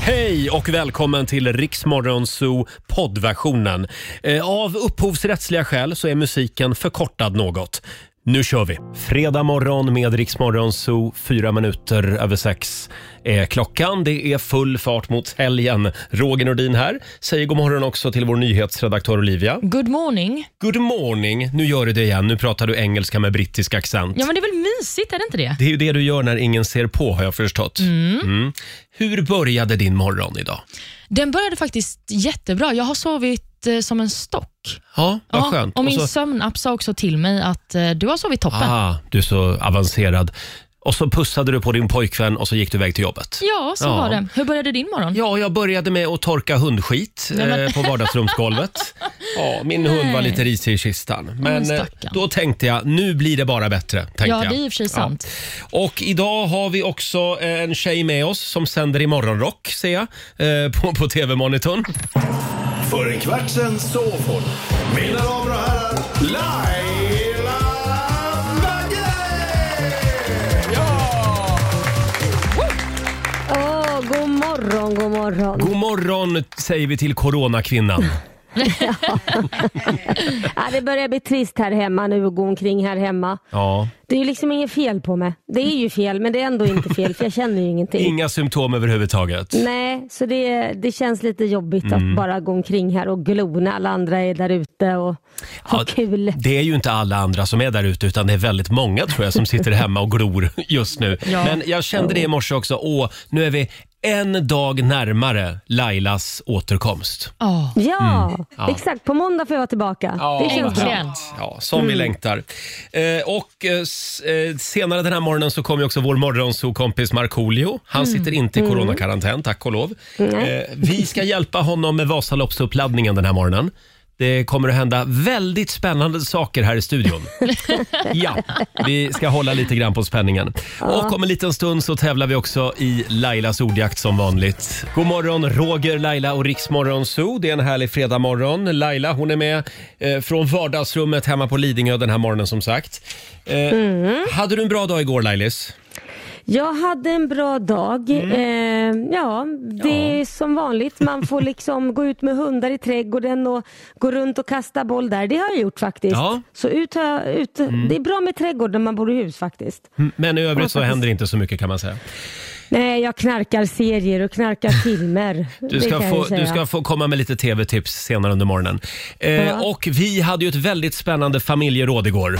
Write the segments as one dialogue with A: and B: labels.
A: Hej och välkommen till Riksmorgon Zoo poddversionen. Eh, Av upphovsrättsliga skäl så är musiken förkortad något. Nu kör vi! Fredag morgon med Riksmorgon Zoo, fyra minuter över sex är klockan. Det är full fart mot helgen. Roger Nordin här. Säger god morgon också till vår nyhetsredaktör Olivia.
B: Good morning.
A: Good morning! Nu gör du det igen. Nu pratar du engelska med brittisk accent.
B: Ja men det är väl mysigt, är det inte det?
A: Det är ju det du gör när ingen ser på har jag förstått. Mm. Hur började din morgon idag?
B: Den började faktiskt jättebra. Jag har sovit eh, som en stock.
A: Ja, vad
B: Ja,
A: skönt.
B: Och min
A: så,
B: sömnapp sa också till mig att eh, du har sovit toppen.
A: ah, du är så avancerad. Och så pussade du på din pojkvän och så gick du iväg till jobbet.
B: Ja, så
A: Ja.
B: var det. Hur började din morgon?
A: Ja, jag började med att torka hundskit eh, på vardagsrumsgolvet. ja, min hund var lite risig i kistan. Men eh,
B: stackarn.
A: då tänkte jag, nu blir det bara bättre. Tänkte
B: Ja,
A: jag.
B: det är i och för sig sant.
A: Och idag har vi också eh, en tjej med oss som sänder i morgonrock, ser jag, eh, på, på tv-monitorn.
C: För en kvart sen sov hon. Mina damer och herrar, Laila Bagge! Ja!
D: Åh, god morgon, god morgon.
A: God morgon säger vi till coronakvinnan.
D: Ja, det börjar bli trist här hemma nu och gå omkring här hemma.
A: Ja.
D: Det är ju liksom inget fel på mig. Det är ju fel, men det är ändå inte fel för jag känner ju ingenting.
A: Inga symptom överhuvudtaget.
D: Nej, så det, det känns lite jobbigt att bara gå omkring här och glo när alla andra är där ute och ha
A: Mm. Ja,
D: kul.
A: Det är ju inte alla andra som är där ute utan det är väldigt många tror jag som sitter hemma och glor just nu.
B: Ja.
A: Men jag kände det i morse också. Åh, nu är vi en dag närmare Lailas återkomst.
B: Ja.
D: Ja,
A: Mm. Ja.
D: exakt. På måndag får jag vara tillbaka. det känns bra.
B: Äntligen.
A: Ja, som vi längtar. Eh, och eh, s- eh, senare den här morgonen så kommer ju också vår morgonsokompis Markoolio. Han sitter inte i coronakarantän, tack och lov. Eh, vi ska hjälpa honom med Vasaloppsuppladdningen den här morgonen. Det kommer att hända väldigt spännande saker här i studion. ja, vi ska hålla lite grann på spänningen. Och om en liten stund så tävlar vi också i Lailas ordjakt som vanligt. God morgon Roger, Laila och Riksmorgon Zoo. Det är en härlig fredagmorgon. Laila hon är med eh, från vardagsrummet hemma på Lidingö den här morgonen som sagt. Eh,
D: Mm.
A: Hade du en bra dag igår Lailis?
D: Jag hade en bra dag.
A: Mm.
D: Eh, ja, det är som vanligt. Man får liksom gå ut med hundar i trädgården och gå runt och kasta boll där. Det har jag gjort faktiskt.
A: Ja. Mm.
D: Så ut har jag, ut, Det är bra med trädgård när man bor i hus faktiskt.
A: M- Men i övrigt så
D: faktiskt.
A: händer inte så mycket kan man säga.
D: Nej, jag knarkar serier och knarkar filmer.
A: Du
D: Det
A: ska,
D: kan jag ju
A: få, du
D: säga.
A: ska få komma med lite tv-tips senare under morgonen. Eh,
D: Ja.
A: Och vi hade ju ett väldigt spännande familjeråd igår.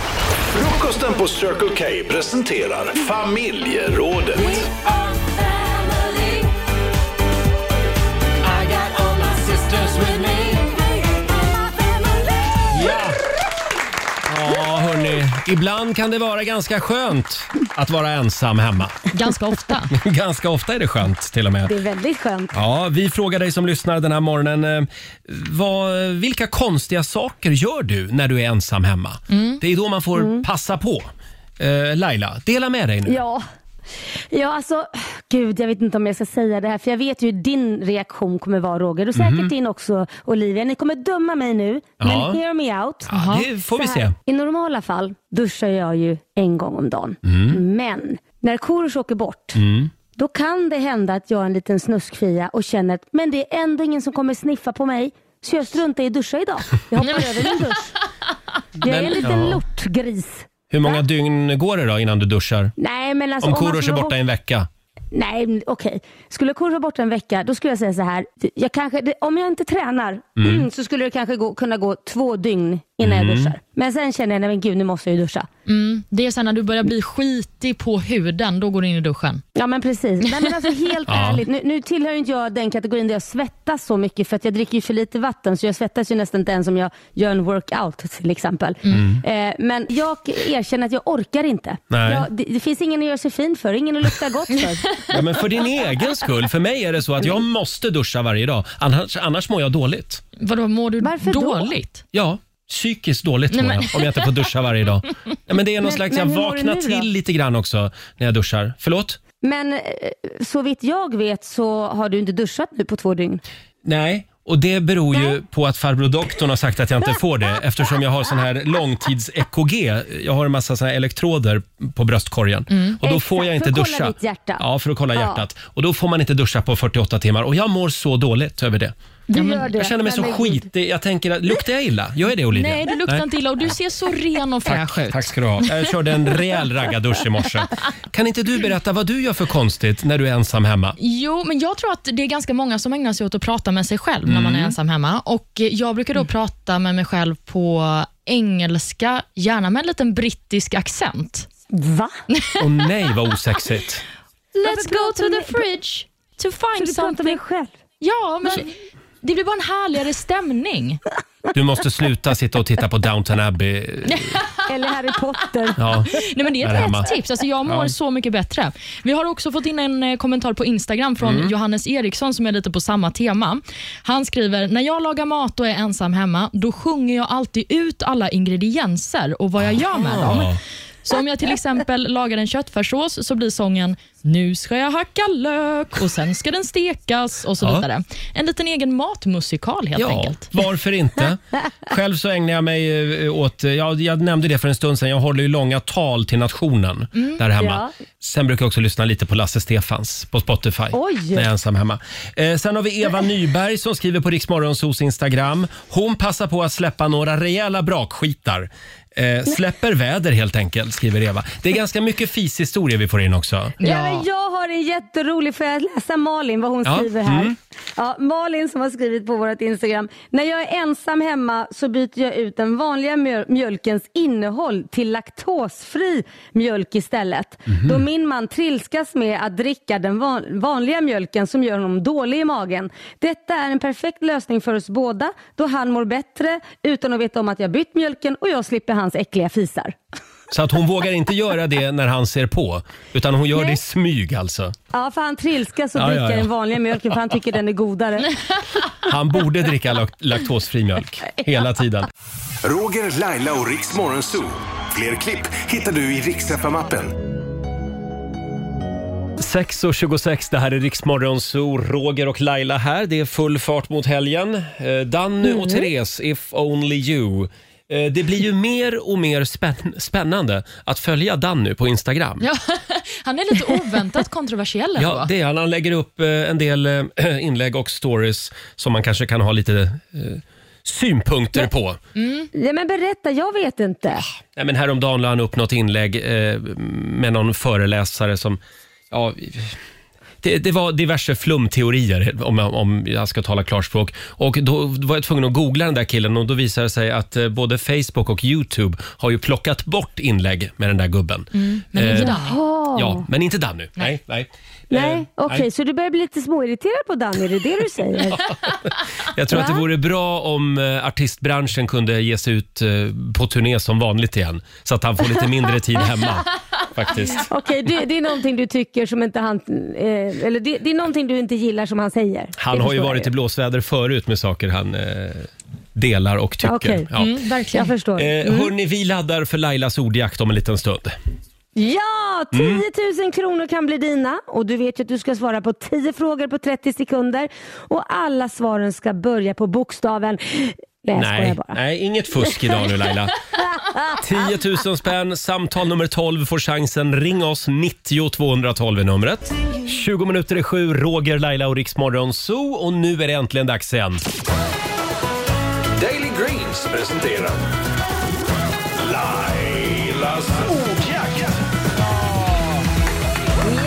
C: Frukosten på Circle K presenterar Familjerådet.
A: Ja. Ja, hörni. Ibland kan det vara ganska skönt att vara ensam hemma.
B: Ganska ofta.
A: Ganska ofta är det skönt till och
D: Det
A: med.
D: är väldigt skönt.
A: Ja, vi frågar dig som lyssnar den här morgonen. eh, Vad, vilka konstiga saker gör du när du är ensam hemma?
D: Mm.
A: Det är då man får passa på. Eh, Laila, dela med dig nu.
D: Ja. Ja, alltså, gud, jag vet inte om jag ska säga det här, för jag vet ju hur din reaktion kommer vara, Roger, och säkert din också, Olivia. Ni kommer döma mig nu,
A: Mhm. Ja.
D: men hear me out.
A: Ja, det får vi
D: Så här,
A: se.
D: I normala fall duschar jag ju en gång om dagen.
A: Mm.
D: Men när Korosh åker bort, då kan det hända att jag är en liten snuskfia och känner att men det är ändå ingen som kommer sniffa på mig. Så jag struntar i att duscha idag. Jag hoppar över min dusch. Jag är
A: Men-
D: en liten
A: ja.
D: lortgris.
A: Hur många dygn går det då innan du duschar?
D: Nej, men alltså,
A: Om
D: man
A: Korosh är
D: skulle vara
A: borta i en vecka.
D: Nej, men okej. Skulle Korosh vara borta en vecka, då skulle jag säga så här. Jag kanske, det, om jag inte tränar
A: Mm.
D: så skulle det kanske gå, kunna gå två dygn innan jag duschar. Men sen känner jag, nej men gud nu måste jag ju duscha.
B: Det är sen när du börjar bli skitig på huden, då går du in i duschen.
D: Ja men precis. Nej, men alltså, helt
A: Ja.
D: ärligt, nu, nu tillhör ju inte jag den kategorin där jag svettas så mycket för att jag dricker ju för lite vatten så jag svettas ju nästan inte ens om jag gör en workout till exempel.
A: Mm.
D: Eh, men jag erkänner att jag orkar inte.
A: Nej.
D: Jag, det, det finns ingen att göra sig fin för, ingen att lukta gott för.
A: Ja, men för din egen skull. För mig är det så att jag måste duscha varje dag. Annars, annars mår jag dåligt.
B: Vadå, mår du
D: Varför då?
B: dåligt?
A: Ja, psykiskt dåligt
B: Nej,
A: mår jag
B: men-
A: om jag inte får duscha varje dag. Nej, men det är någon
D: Men-
A: slags,
D: men
A: jag
D: hur mår du
A: vaknar
D: nu då?
A: till lite grann också när jag duschar. Förlåt?
D: Men eh, så vitt jag vet så har du inte duschat nu på två dygn.
A: Nej, Och det beror ju på att farbror doktorn har sagt att jag inte får det eftersom jag har sån här långtids-EKG. Jag har en massa såna här elektroder på bröstkorgen. Och då får
D: Mm. Exakt,
A: jag inte
D: för att
A: duscha.
D: kolla ditt hjärta.
A: Ja, för att kolla
D: Ja.
A: hjärtat. Och då får man inte duscha på 48 timmar och jag mår så dåligt över det.
D: Du gör det.
A: Jag känner mig så
D: Men gud.
A: skitig. Jag tänker, att- luktar jag illa? Gör jag det Olivia?
B: Nej, du luktar inte illa och du ser så ren och fräsch ut.
A: Tack ska du ha. Jag körde en rejäl raggardusch i morse. Kan inte du berätta vad du gör för konstigt när du är ensam hemma?
B: Jo, men jag tror att det är ganska många som ägnar sig åt att prata med sig själv när man är ensam hemma. Och eh, Jag brukar då prata med mig själv på engelska, gärna med en liten brittisk accent.
D: Va?
A: Och nej, vad osexigt.
B: Let's go to
D: pratar
B: the
D: med-
B: fridge to
D: Så
B: find
D: du pratar med
B: something.
D: dig själv?
B: Ja, men det blir bara en härligare stämning.
A: Du måste sluta sitta och titta på Downton Abbey.
D: Eller Harry Potter?
A: Ja.
B: Nej, men det
A: Här
B: är ett
A: hemma.
B: hett tips. Alltså, jag mår
A: Ja.
B: så mycket bättre. Vi har också fått in en eh, kommentar på Instagram från
A: Mm.
B: Johannes Eriksson som är lite på samma tema. Han skriver, när jag lagar mat och är ensam hemma, då sjunger jag alltid ut alla ingredienser och vad jag gör med dem.
A: Ja.
B: Så om jag till exempel lagar en köttfärssås så blir sången “Nu ska jag hacka lök och sen ska den stekas” och så
A: Ja.
B: vidare. En liten egen matmusikal helt
A: Ja,
B: enkelt.
A: varför inte? Själv så ägnar jag mig eh, åt, eh, jag, jag nämnde det för en stund sedan, jag håller ju långa tal till nationen
B: Mm,
A: där hemma. Sen brukar jag också lyssna lite på Lasse Stefans på Spotify
D: Oj.
A: när jag är ensam hemma. Eh, sen har vi Eva Nyberg som skriver på Riksmorgonsos Instagram. Hon passar på att släppa några rejäla brakskitar. Eh, släpper väder helt enkelt, skriver Eva. Det är ganska mycket fishistorier vi får in också.
D: Ja. men jag har en jätterolig, får jag läsa Malin vad hon
A: Ja, Mm.
D: skriver här? Ja, Malin som har skrivit på vårt Instagram. När jag är ensam hemma så byter jag ut den vanliga mjöl- mjölkens innehåll till laktosfri mjölk istället.
A: Mhm.
D: Då min man trilskas med att dricka den van- vanliga mjölken som gör honom dålig i magen. Detta är en perfekt lösning för oss båda då han mår bättre utan att veta om att jag bytt mjölken och jag slipper hans äckliga fisar.
A: Så att hon vågar inte göra det när han ser på, utan hon gör det i smyg alltså.
D: Ja, för han trilskas och
A: Ja, ja,
D: dricker
A: ja.
D: den vanliga mjölken för han tycker den är godare.
A: Han borde dricka lak- laktosfri mjölk hela tiden.
C: Roger, Laila och Riks Morgonzoo. Fler klipp hittar du i Riks appen
A: 6.26, det här är Riksmorgon, så Roger och Laila här. Det är full fart mot helgen. Eh, Danny och Therese, If Only You. Eh, Det blir ju mer och mer spänn- spännande att följa Danny på Instagram.
B: Ja. Han är lite oväntat kontroversiell ändå.
A: Ja, det är han. Han lägger upp eh, en del eh, inlägg och stories som man kanske kan ha lite eh, synpunkter på.
D: Ja, men berätta, jag vet
A: Ah,
D: inte.
A: Nej, men häromdagen la han upp något inlägg eh, med någon föreläsare som... Ja, det, det var diverse flumteorier, om jag, om jag ska tala klarspråk. Och då var jag tvungen att googla den där killen och då visade det sig att eh, både Facebook och YouTube har ju plockat bort inlägg med den där gubben.
D: Mm.
B: Men
A: eh,
B: inte Danny.
A: Ja, men inte Danny. Nej, nej. Eh,
D: Nej, okej, så du börjar bli lite småirriterad på Danny, är det det du säger?
A: Jag tror att det
D: Va?
A: vore bra om eh, artistbranschen kunde ge sig ut eh, på turné som vanligt igen, så att han får lite mindre tid hemma. Faktiskt.
D: Okej, det, det är någonting du tycker som inte han... Eh, eller det, det är någonting du inte gillar som han säger.
A: Han
D: Det
A: har ju
D: förstår
A: varit i
D: jag
A: blåsväder förut med saker han eh, delar och tycker.
D: Ah, Okej. Mm.
A: Ja.
B: Mm, verkligen.
D: Jag förstår.
A: Eh, hörni, vi laddar för Lailas ordjakt om en liten stund.
D: Ja, 10
A: mm.
D: 000 kronor kan bli dina och du vet ju att du ska svara på 10 frågor på 30 sekunder och alla svaren ska börja på bokstaven... Nej, jag skojar
A: nej,
D: bara.
A: nej, inget fusk idag nu Laila. 10 000 spänn, samtal nummer 12 får chansen. Ring oss, 90 212 är numret. 20 minuter i sju, Roger, Laila och Riksmorgon Zoo. Och nu är det äntligen dags igen.
C: Daily Greens presenterar Lailas ordjakt.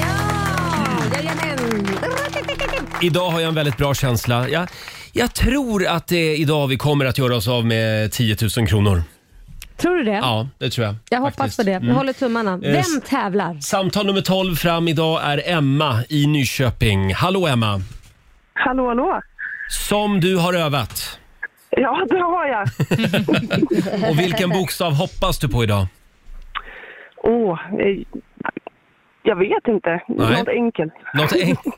D: Ja, jajamän.
A: Idag har jag en väldigt bra känsla. Jag, jag tror att det är idag vi kommer att göra oss av med 10 000 kronor.
D: Tror du det?
A: Ja, det tror jag.
D: Jag hoppas
A: faktiskt. Mm. Eh,
D: på det. Jag håller tummarna. Vem tävlar?
A: Samtal nummer 12 fram idag är Emma i Nyköping. Hallå Emma!
E: Hallå, hallå.
A: Som du har övat.
E: Ja, det har jag.
A: Och vilken bokstav hoppas du på idag?
E: Åh, eh, jag vet inte.
A: Nej.
E: Något enkelt.
A: Något, en-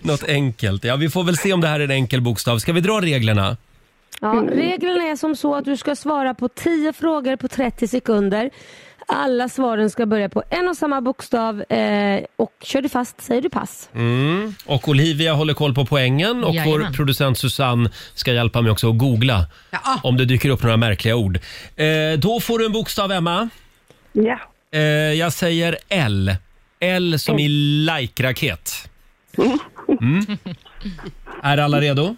A: något enkelt. Ja, vi får väl se om det här är en enkel bokstav. Ska vi dra reglerna?
D: Ja, reglerna är som så att du ska svara på 10 frågor på 30 sekunder. Alla svaren ska börja på en och samma bokstav eh, och kör du fast säger du pass.
A: Mm. Och Olivia håller koll på poängen och vår
B: Jajamän.
A: producent Susanne ska hjälpa mig också att googla
F: Ja.
A: om det dyker upp några märkliga ord. Eh, då får du en bokstav, Emma.
E: Ja.
A: Eh, jag säger L. L som i like-raket. Mm. Är alla redo?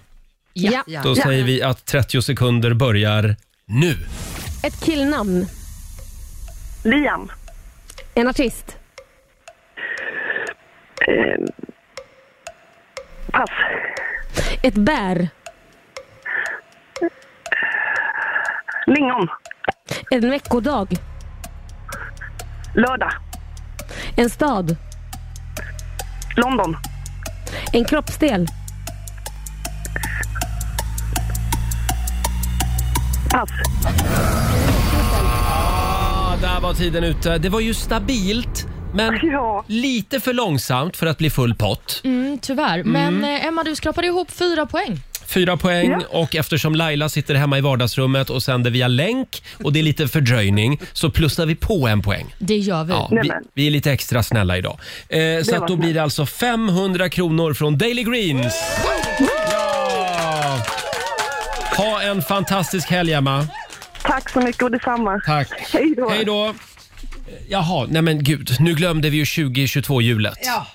F: Ja.
A: Då säger vi att 30 sekunder börjar nu.
D: Ett killnamn,
E: Liam.
D: en artist,
E: Eh, pass.
D: ett bär,
E: Lingon.
D: en veckodag,
E: Lördag.
D: en stad,
E: London.
D: en kroppsdel,
E: Pass.
A: Ja, där var tiden ute. Det var ju stabilt, men
E: Ja.
A: lite för långsamt för att bli full pott.
B: Mm, tyvärr. Men eh, Emma, du skrapade ihop fyra poäng.
A: Fyra poäng och eftersom Laila sitter hemma i vardagsrummet och sänder via länk och det är lite fördröjning så plussar vi på en poäng.
B: Det gör vi.
A: Ja, vi,
E: Nämen.
A: vi är lite extra snälla idag. Eh, så
E: var
A: att då
E: snällt.
A: blir det alltså 500 kronor från Daily Greens. Ja! Ha en fantastisk helg, Emma.
E: Tack så mycket och detsamma.
A: Tack.
E: Hej då.
A: Hej då. Jaha, nej men gud, nu glömde vi ju 2022-hjulet.
F: Ja.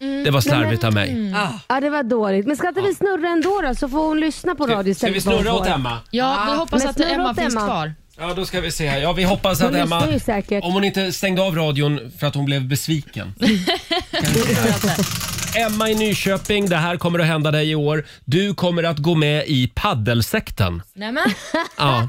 A: Mm. Det var slarvigt av mig.
D: Mm.
F: Ah.
D: Ja, det var dåligt. Men ska inte vi snurra ändå då så får hon lyssna på radio
A: Ska
D: istället
A: vi
D: för
A: snurra
D: vår.
A: åt Emma?
B: Ja, vi hoppas
D: Men
B: att Emma,
D: snurra åt
B: finns
D: Emma.
B: kvar.
A: Ja, då ska vi se här. Ja, vi hoppas att
D: lyssnar
A: Emma...
D: ju säkert.
A: Om hon inte stängde av radion för att hon blev besviken. Emma i Nyköping, det här kommer att hända dig i år. Du kommer att gå med i paddelsekten.
B: Nämen.
A: Ja,
D: Ja.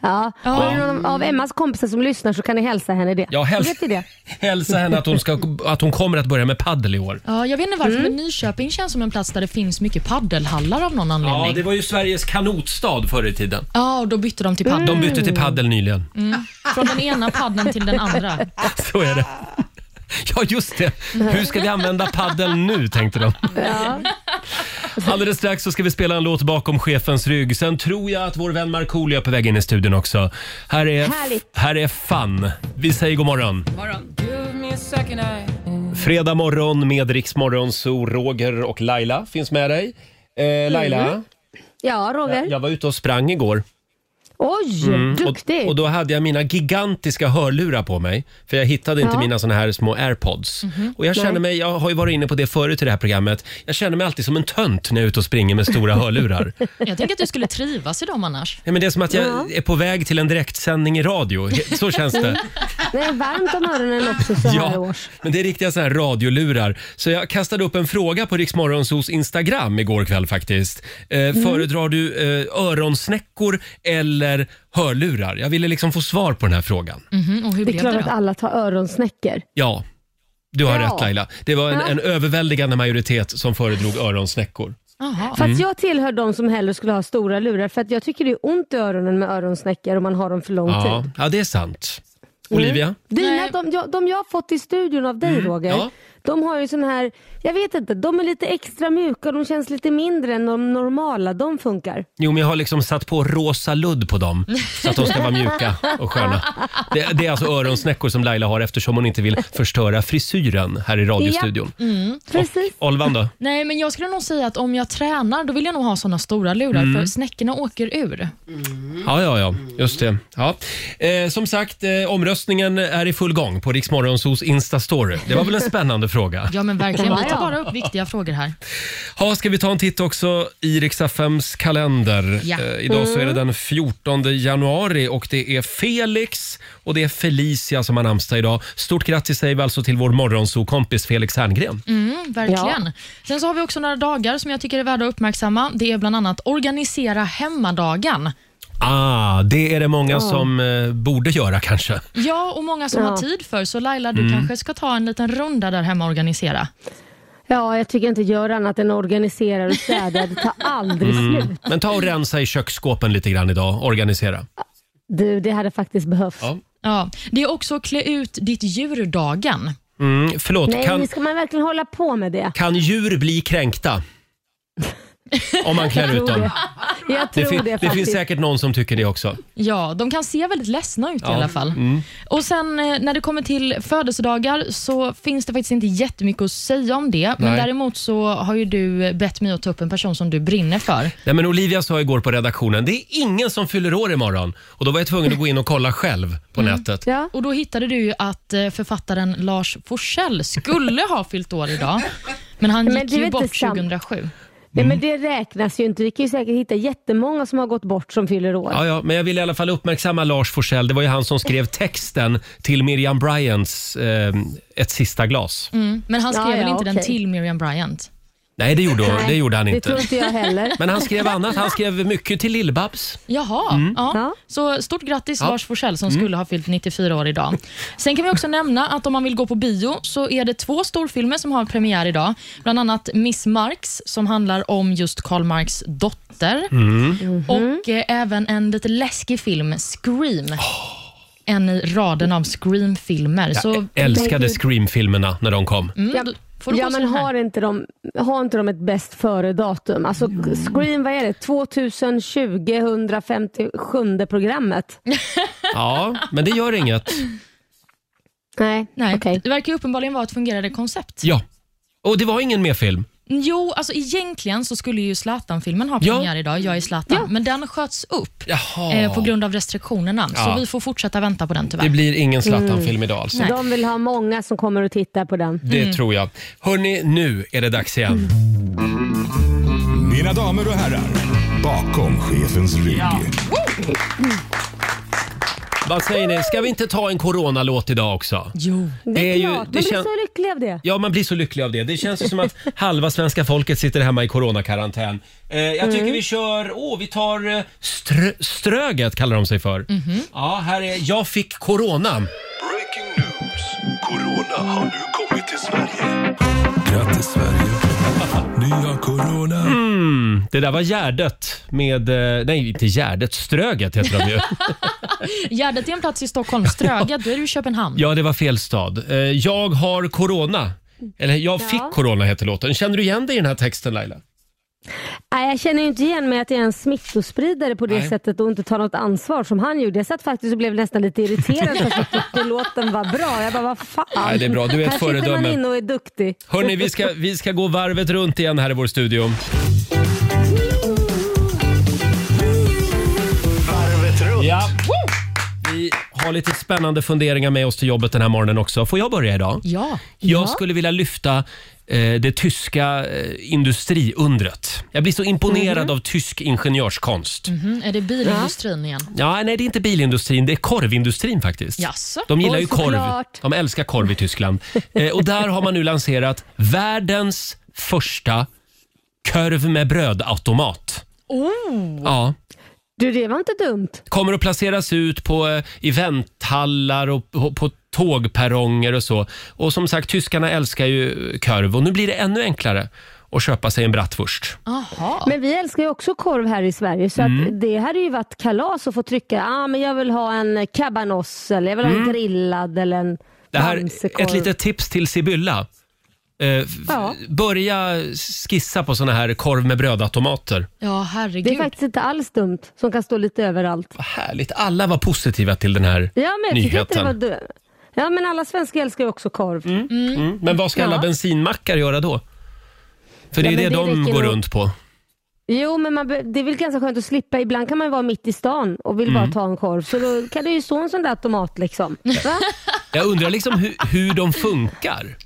B: Ja.
D: Och är det någon av Emmas kompisar som lyssnar så kan ni hälsa henne det.
A: Ja, häls-
D: Vet ni det?
A: hälsa henne att hon, ska, att hon kommer att börja med paddel i år.
B: Ja, jag vet inte varför,
D: Mm.
B: men Nyköping känns som en plats där det finns mycket paddelhallar av någon
A: Ja,
B: anledning.
A: det
B: Ja,
A: var ju Sveriges kanotstad förr i tiden.
B: och då bytte de till paddel.
A: De bytte
D: Mm.
A: till paddel nyligen.
B: Från den ena paddeln till den andra.
A: Så är det. Ja, just det. Hur ska vi använda paddeln nu, tänkte de. Alldeles strax så ska vi spela en låt bakom chefens rygg. Sen tror jag att vår vän Markoolio är på väg in i studion också. Här är,
D: Härligt.
A: här är Fun. Vi säger god morgon.
F: Morgon.
A: Fredag morgon med Riksmorgon, så Roger och Laila finns med dig. Eh, Laila,
D: Ja, Roger.
A: jag var ute och sprang igår.
D: Oj, duktig.
A: Mm, Och, och då hade jag mina gigantiska hörlurar på mig, för jag hittade inte
D: Ja. Mhm.
A: mina såna här små airpods. Och jag känner mig, jag har ju varit inne på det förut i det här programmet, jag känner mig alltid som en tönt när jag är ute och springer med stora hörlurar.
B: Jag tänker att du skulle trivas i dem annars.
A: Nej, men det är som att jag är på väg till en direktsändning i radio. Så känns det.
D: Det är varmt om öronen också så här
A: Ja,
D: års.
A: men det är riktiga såna här radiolurar. Så jag kastade upp en fråga på Riksmorgonsos Instagram igår kväll faktiskt. Eh,
D: Mm.
A: Föredrar du eh, öronsnäckor eller hörlurar? Jag ville liksom få svar på den här frågan.
B: Mhm, och hur
D: Det är
B: blev
D: klart
B: det
D: att
B: då?
D: alla tar öronsnäckor.
A: Ja, du har
D: Ja.
A: rätt Laila. Det var en,
D: Ja.
A: en överväldigande majoritet som föredrog öronsnäckor.
B: Jaha.
A: Mm.
D: Fast jag tillhör de som hellre skulle ha stora lurar för att jag tycker det är ont i öronen med öronsnäckor om man har dem för lång
A: Ja,
D: tid. Mm.
A: ja det är sant. Olivia? Mm.
D: Dina,
B: Nej.
D: de, jag- de jag har fått i studion av dig Roger,
A: ja.
D: de har ju sån här, jag vet inte, de är lite extra mjuka de känns lite mindre än de normala. De funkar.
A: Jo, men jag har liksom satt på rosa ludd på dem så att de ska vara mjuka och sköna. Det, det är alltså öronsnäckor som Laila har eftersom hon inte vill förstöra frisyren här i radiostudion.
D: Mm. Precis.
A: Olvan då?
B: Nej, men jag skulle nog säga att om jag tränar, då vill jag nog ha såna stora lurar,
A: Mm.
B: för snäckorna åker ur.
A: Ja, ja, ja. Just det. Ja. Eh, som sagt, eh, omröstningen är i full gång på Riksmorgonsos Insta-story. Det var väl en spännande fråga?
B: Ja, men verkligen. Vi
D: Ja,
B: tar
D: ja.
B: bara upp viktiga frågor här.
A: Ja, ska vi ta en titt också i Riks-FMs kalender?
B: Ja.
A: Eh, idag så är det
D: Mm.
A: den 14 januari och det är Felix och det är Felicia som har namnsdag idag. Stort grattis säger vi alltså till vår morgonsokompis Felix Herngren.
B: Mm, verkligen. Sen så har vi också några dagar som jag tycker är värda att uppmärksamma. Det är bland annat organisera hemmadagen.
A: Ah, det är det många som eh, borde göra kanske.
B: Ja, och många som
D: Ja.
B: har tid för, så Laila, du kanske ska ta en liten runda där hemma och organisera.
D: Ja, jag tycker inte göra annat än organisera och städa. Det tar aldrig
A: Mm.
D: slut.
A: Men ta och rensa i köksskåpen lite grann idag, organisera.
D: Du, det hade faktiskt behövts.
A: Ja.
B: Ja, det är också klä ut ditt djurdagen.
A: Mm, förlåt,
D: Nej,
A: kan,
D: ska man verkligen hålla på med det?
A: kan djur bli kränkta? Om man klär ut dem.
D: Jag
A: Det,
D: tror det,
A: fin- det
D: faktiskt.
A: finns säkert någon som tycker det också.
B: Ja, de kan se väldigt ledsna ut i alla fall. Och sen eh, när det kommer till födelsedagar så finns det faktiskt inte jättemycket att säga om det. Men
A: Nej.
B: däremot så har ju du bett mig att ta upp en person som du brinner för.
A: Nej, men Olivia sa igår på redaktionen, det är ingen som fyller år imorgon. Och då var jag tvungen att gå in och kolla själv på nätet.
D: Ja.
B: Och då hittade du ju att eh, författaren Lars Forssell skulle ha fyllt år idag. Men han
D: Men
B: gick
D: det är
B: ju
D: inte
B: bort
D: sant.
B: 2007.
D: Nej, men det räknas ju inte. Vi kan ju säkert hitta jättemånga som har gått bort som fyller år.
A: Ja, ja, men jag vill i alla fall uppmärksamma Lars Forssell. Det var ju han som skrev texten till Miriam Bryants eh, Ett sista glas.
B: Men han skrev
D: Ja, ja,
B: väl inte den
D: okej.
B: till Miriam Bryant?
A: Nej, det gjorde,
D: Nej,
A: det gjorde han
D: Det tror
A: inte.
D: inte jag heller.
A: Men han skrev annat. Han skrev mycket till Lill-Babs.
B: Jaha, ja.
D: Ja.
B: så stort grattis Lars Forssell som skulle ha fyllt 94 år idag. Sen kan vi också nämna att om man vill gå på bio så är det två storfilmer som har premiär idag. Bland annat Miss Marx som handlar om just Karl Marx dotter
D: Mhm.
B: och eh, även en lite läskig film, Scream. En i raden av Scream-filmer. Så
A: Jag älskade Scream-filmerna när de kom.
B: mm,
D: Ja,
B: då får du
D: ja
B: ja,
D: men har inte, de, har inte de ett bäst före-datum? Alltså Scream, vad är det? 2020, 157 programmet?
A: Ja, men det gör inget.
D: Nej,
B: Nej,
D: okej.
B: Det verkar ju uppenbarligen vara ett fungerande koncept.
A: Ja. Och det var ingen mer film.
B: Jo, alltså egentligen så skulle ju Zlatan-filmen ha
A: Ja.
B: premiär idag, Jag är Zlatan, men den sköts upp. eh, på grund av restriktionerna.
A: Ja.
B: Så vi får fortsätta vänta på den tyvärr.
A: Det blir ingen Zlatan-film idag alltså.
B: Nej.
D: De vill ha många som kommer och tittar på den.
A: Det tror jag. Hörni, nu är det dags igen.
C: Mina damer och herrar, bakom chefens rygg.
A: Vad säger ni, ska vi inte ta en coronalåt idag också?
B: Jo.
D: Det är
A: ju-
D: klart,
A: det
D: man blir
A: kän-
D: så lycklig av det.
A: Ja, man blir så lycklig av det. Det känns ju som att halva svenska folket sitter hemma i coronakarantän. Eh, jag tycker
D: Mm.
A: vi kör, åh, vi tar eh, strö, Ströget kallar de sig för.
D: Mhm.
A: Ja, här är Jag fick corona.
F: Breaking news! Corona har nu kommit till Sverige. Grattis Sverige! Nya corona!
A: Det där var Gärdet med, eh, nej inte Gärdet, Ströget heter de ju.
B: Gärdet är en plats i Stockholm. Ströga, då är du i Köpenhamn.
A: ja, det var fel stad. Eh, jag har corona. Eller jag fick corona heter låten. Känner du igen dig i den här texten Laila?
D: Nej, jag känner ju inte igen mig att jag är en smittospridare på det
A: Nej.
D: sättet och inte tar något ansvar som han gjorde. Jag satt faktiskt och blev nästan lite irriterad för att jag tyckte låten var bra. Jag bara, vad fan.
A: Nej, det är bra. Du är ett
D: Här sitter man
A: föredöme.
D: inne och är duktig.
A: Hörni, vi ska, vi ska gå varvet runt igen här i vår studio.
C: Varvet runt.
A: Ja. Vi har lite spännande funderingar med oss till jobbet den här morgonen också. Får jag börja idag?
B: Ja.
A: Jag skulle vilja lyfta eh, det tyska eh, industriundret. Jag blir så imponerad
B: Mhm.
A: av tysk ingenjörskonst.
B: Mm, är det bilindustrin igen?
A: Ja, nej, det är inte bilindustrin, det är korvindustrin faktiskt.
B: Jaså?
A: De gillar
D: Oj,
A: ju korv.
D: såklart.
A: De älskar korv i Tyskland. Eh, och där har man nu lanserat världens första korv med brödautomat. Oh. Ja.
D: Du, det var inte dumt.
A: kommer att placeras ut på eh, eventhallar och på, på tågperronger och så. Och som sagt, tyskarna älskar ju korv och nu blir det ännu enklare att köpa sig en bratwurst.
B: Aha.
D: Men vi älskar ju också korv här i Sverige så
A: Mm.
D: att det hade ju varit kalas att få trycka, ah, men jag vill ha en cabanos eller jag vill ha en grillad eller en
A: Mm. Det här är
D: bamsekorv.
A: ett litet tips till Sibylla. Eh, f-
D: Ja.
A: Börja skissa på såna här korv med brödautomater.
B: Ja,
D: Det är
B: herregud.
D: faktiskt inte alls dumt som kan stå lite överallt.
A: Vad härligt. Alla var positiva till den här
D: Ja, men jag tycker inte
A: nyheten.
D: det var dumt. Ja, men alla svenskar älskar ju också korv.
A: Mm. Men vad ska alla
D: Ja.
A: bensinmackar göra då? För det är
D: Ja,
A: det,
D: men det
A: de
D: räcker
A: går
D: nog.
A: runt på.
D: Jo, men man, be- det är väl ganska skönt att slippa. Ibland kan man ju vara mitt i stan och vill
A: Mm.
D: bara ta en korv. Så då kan det ju stå en sån där tomat liksom. Va?
A: Jag undrar liksom hur, hur de funkar.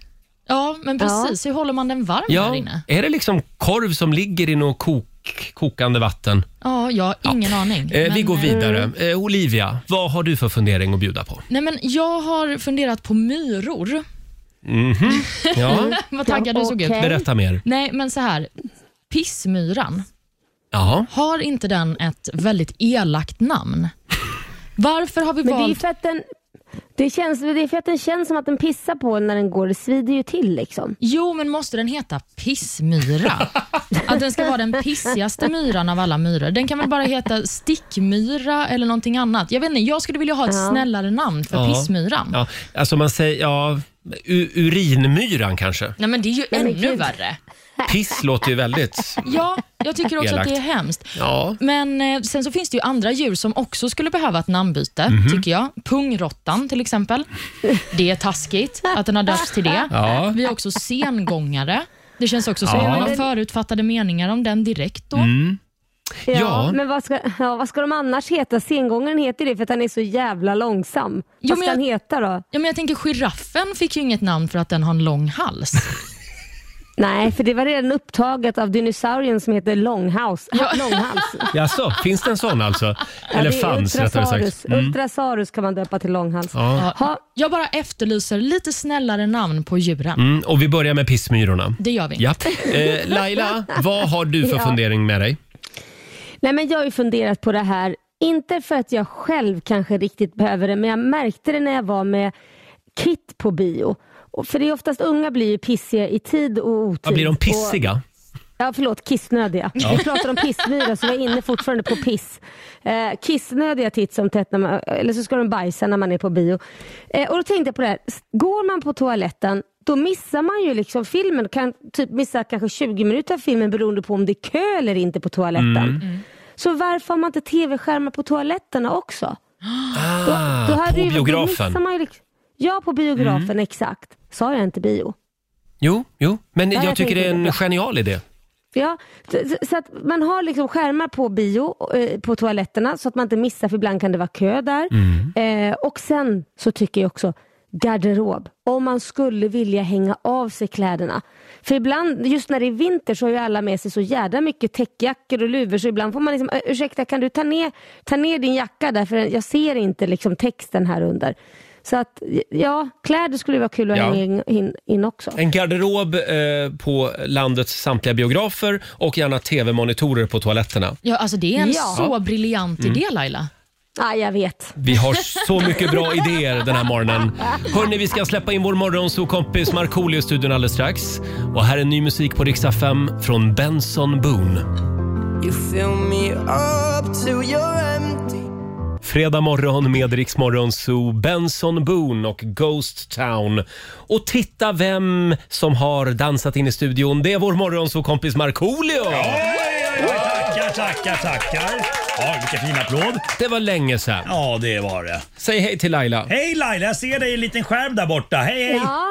B: Ja, men precis. Hur håller man den varm här inne?
A: Är det liksom korv som ligger i något kok, kokande vatten?
B: Ja, jag har ingen aning.
A: Eh, vi
B: men,
A: går
B: eh,
A: vidare. Eh, Olivia, vad har du för fundering att bjuda på?
B: Nej, men jag har funderat på myror.
A: Ja,
B: Vad taggad du såg ut.
D: okej.
A: berätta mer.
B: Nej, men så här. Pissmyran.
A: Ja.
B: Har inte den ett väldigt elakt namn? Varför har vi
D: Men det är ju
B: valt...
D: för att den det, känns, det är för att den känns som att den pissar på en när den går. Det svider ju till liksom.
B: Jo, men måste den heta pissmyra? Att den ska vara den pissigaste myran av alla myror. Den kan väl bara heta stickmyra eller någonting annat. Jag vet inte, jag skulle vilja ha ett snällare namn för
A: Ja.
B: pissmyran.
A: ja. Alltså man säger, ja, u- urinmyran kanske?
B: Nej, men det är ju
D: Nej, men
B: ännu
D: gud.
B: värre.
A: Piss låter ju väldigt...
B: Ja, jag tycker också att det är
A: Elakt.
B: hemskt.
A: Ja.
B: Men eh, sen så finns det ju andra djur som också skulle behöva ett namnbyte,
A: Mhm.
B: tycker jag. Pungrottan till exempel. Det är taskigt att den har döpts till det.
A: Ja.
B: Vi har också sengångare. Det känns också som
A: Ja. Mm.
B: att man har förutfattade meningar om den direkt då.
D: Ja,
A: Ja.
D: men vad ska, ja, vad ska de annars heta? Sengångaren heter det för att han är så jävla långsam.
B: Jo,
D: vad
B: men
D: ska
B: jag-
D: han heta då?
B: Ja, men jag tänker giraffen fick ju inget namn för att den har en lång hals.
D: Nej, för det var redan upptaget av dinosaurien som heter Långhouse. Långhals.
A: Jaså, finns det en sån alltså?
D: Ja,
A: Eller
D: det är
A: fanns rättare
D: Ultrasaurus.
A: sagt. Mm.
D: Ultrasaurus kan man döpa till Långhals.
A: Ja.
B: Ja, jag bara efterlyser lite snällare namn på djuren.
A: Mm, och vi börjar med pissmyrorna.
B: Det gör vi.
A: Ja. Eh, Laila, vad har du för
D: Ja.
A: fundering med dig?
D: Nej, men jag har ju funderat på det här, inte för att jag själv kanske riktigt behöver det, men jag märkte det när jag var med Kit på bio. Och för det är oftast unga blir ju pissiga i tid och otid.
A: Vad blir de
D: Och-
A: pissiga?
D: Ja, förlåt, kissnödiga. Vi pratade om pissmyra så var jag inne fortfarande på piss. Eh, kissnödiga titt som tätt, när man, eller så ska de bajsa när man är på bio. Eh, och då tänkte jag på det här, S- går man på toaletten då missar man ju liksom filmen, kan typ missa kanske 20 minuter av filmen beroende på om det är kö eller inte på toaletten.
A: Mm.
D: Så varför har man inte tv-skärmar på toaletterna också? Då
A: Ah,
D: hade
A: på
D: ju- då
A: biografen. Mm.
D: missar man ju liksom- Ja, på biografen, exakt. Sa jag inte bio?
A: Jo, jo, men
D: Ja,
A: jag
D: jag
A: tycker det är
D: tänker
A: en
D: det.
A: genial idé.
D: Ja, så- så- så att man har liksom skärmar på bio, eh, på toaletterna så att man inte missar för ibland kan det vara kö där. Eh, och sen så tycker jag också garderob, om man skulle vilja hänga av sig kläderna. För ibland, just när det är vinter så har ju alla med sig så jädra mycket täckjackor och luvor så ibland får man liksom, "Ö, ursäkta kan du ta ner, ta ner din jacka där för jag ser inte liksom texten här under. Så att ja, kläder skulle ju vara kul att
A: Ja.
D: hänga in, in, in också.
A: En garderob eh, på landets samtliga biografer och gärna tv-monitorer på toaletterna.
B: Ja, alltså det är en
D: Ja.
B: så briljant idé
A: Mm.
B: Laila.
D: Ja, jag vet.
A: Vi har så mycket bra idéer den här morgonen. Hörni, vi ska släppa in vår morgonsokompis Markoolio i studion alldeles strax. Och här är ny musik på riksdag 5 från Benson Boone. Fredag morgon med Rix Morgon Zoo, Benson Boone och Ghost Town. Och titta vem som har dansat in i studion. Det är vår morgonsokompis Markoolio!
G: Tackar, tackar, tackar. Ja, vilken fin applåd.
A: Det var länge sedan.
G: Ja, det var det.
A: Säg hej till Laila.
G: Hej Laila, jag ser dig i en liten skärm där borta. Hej, hej.
D: Ja.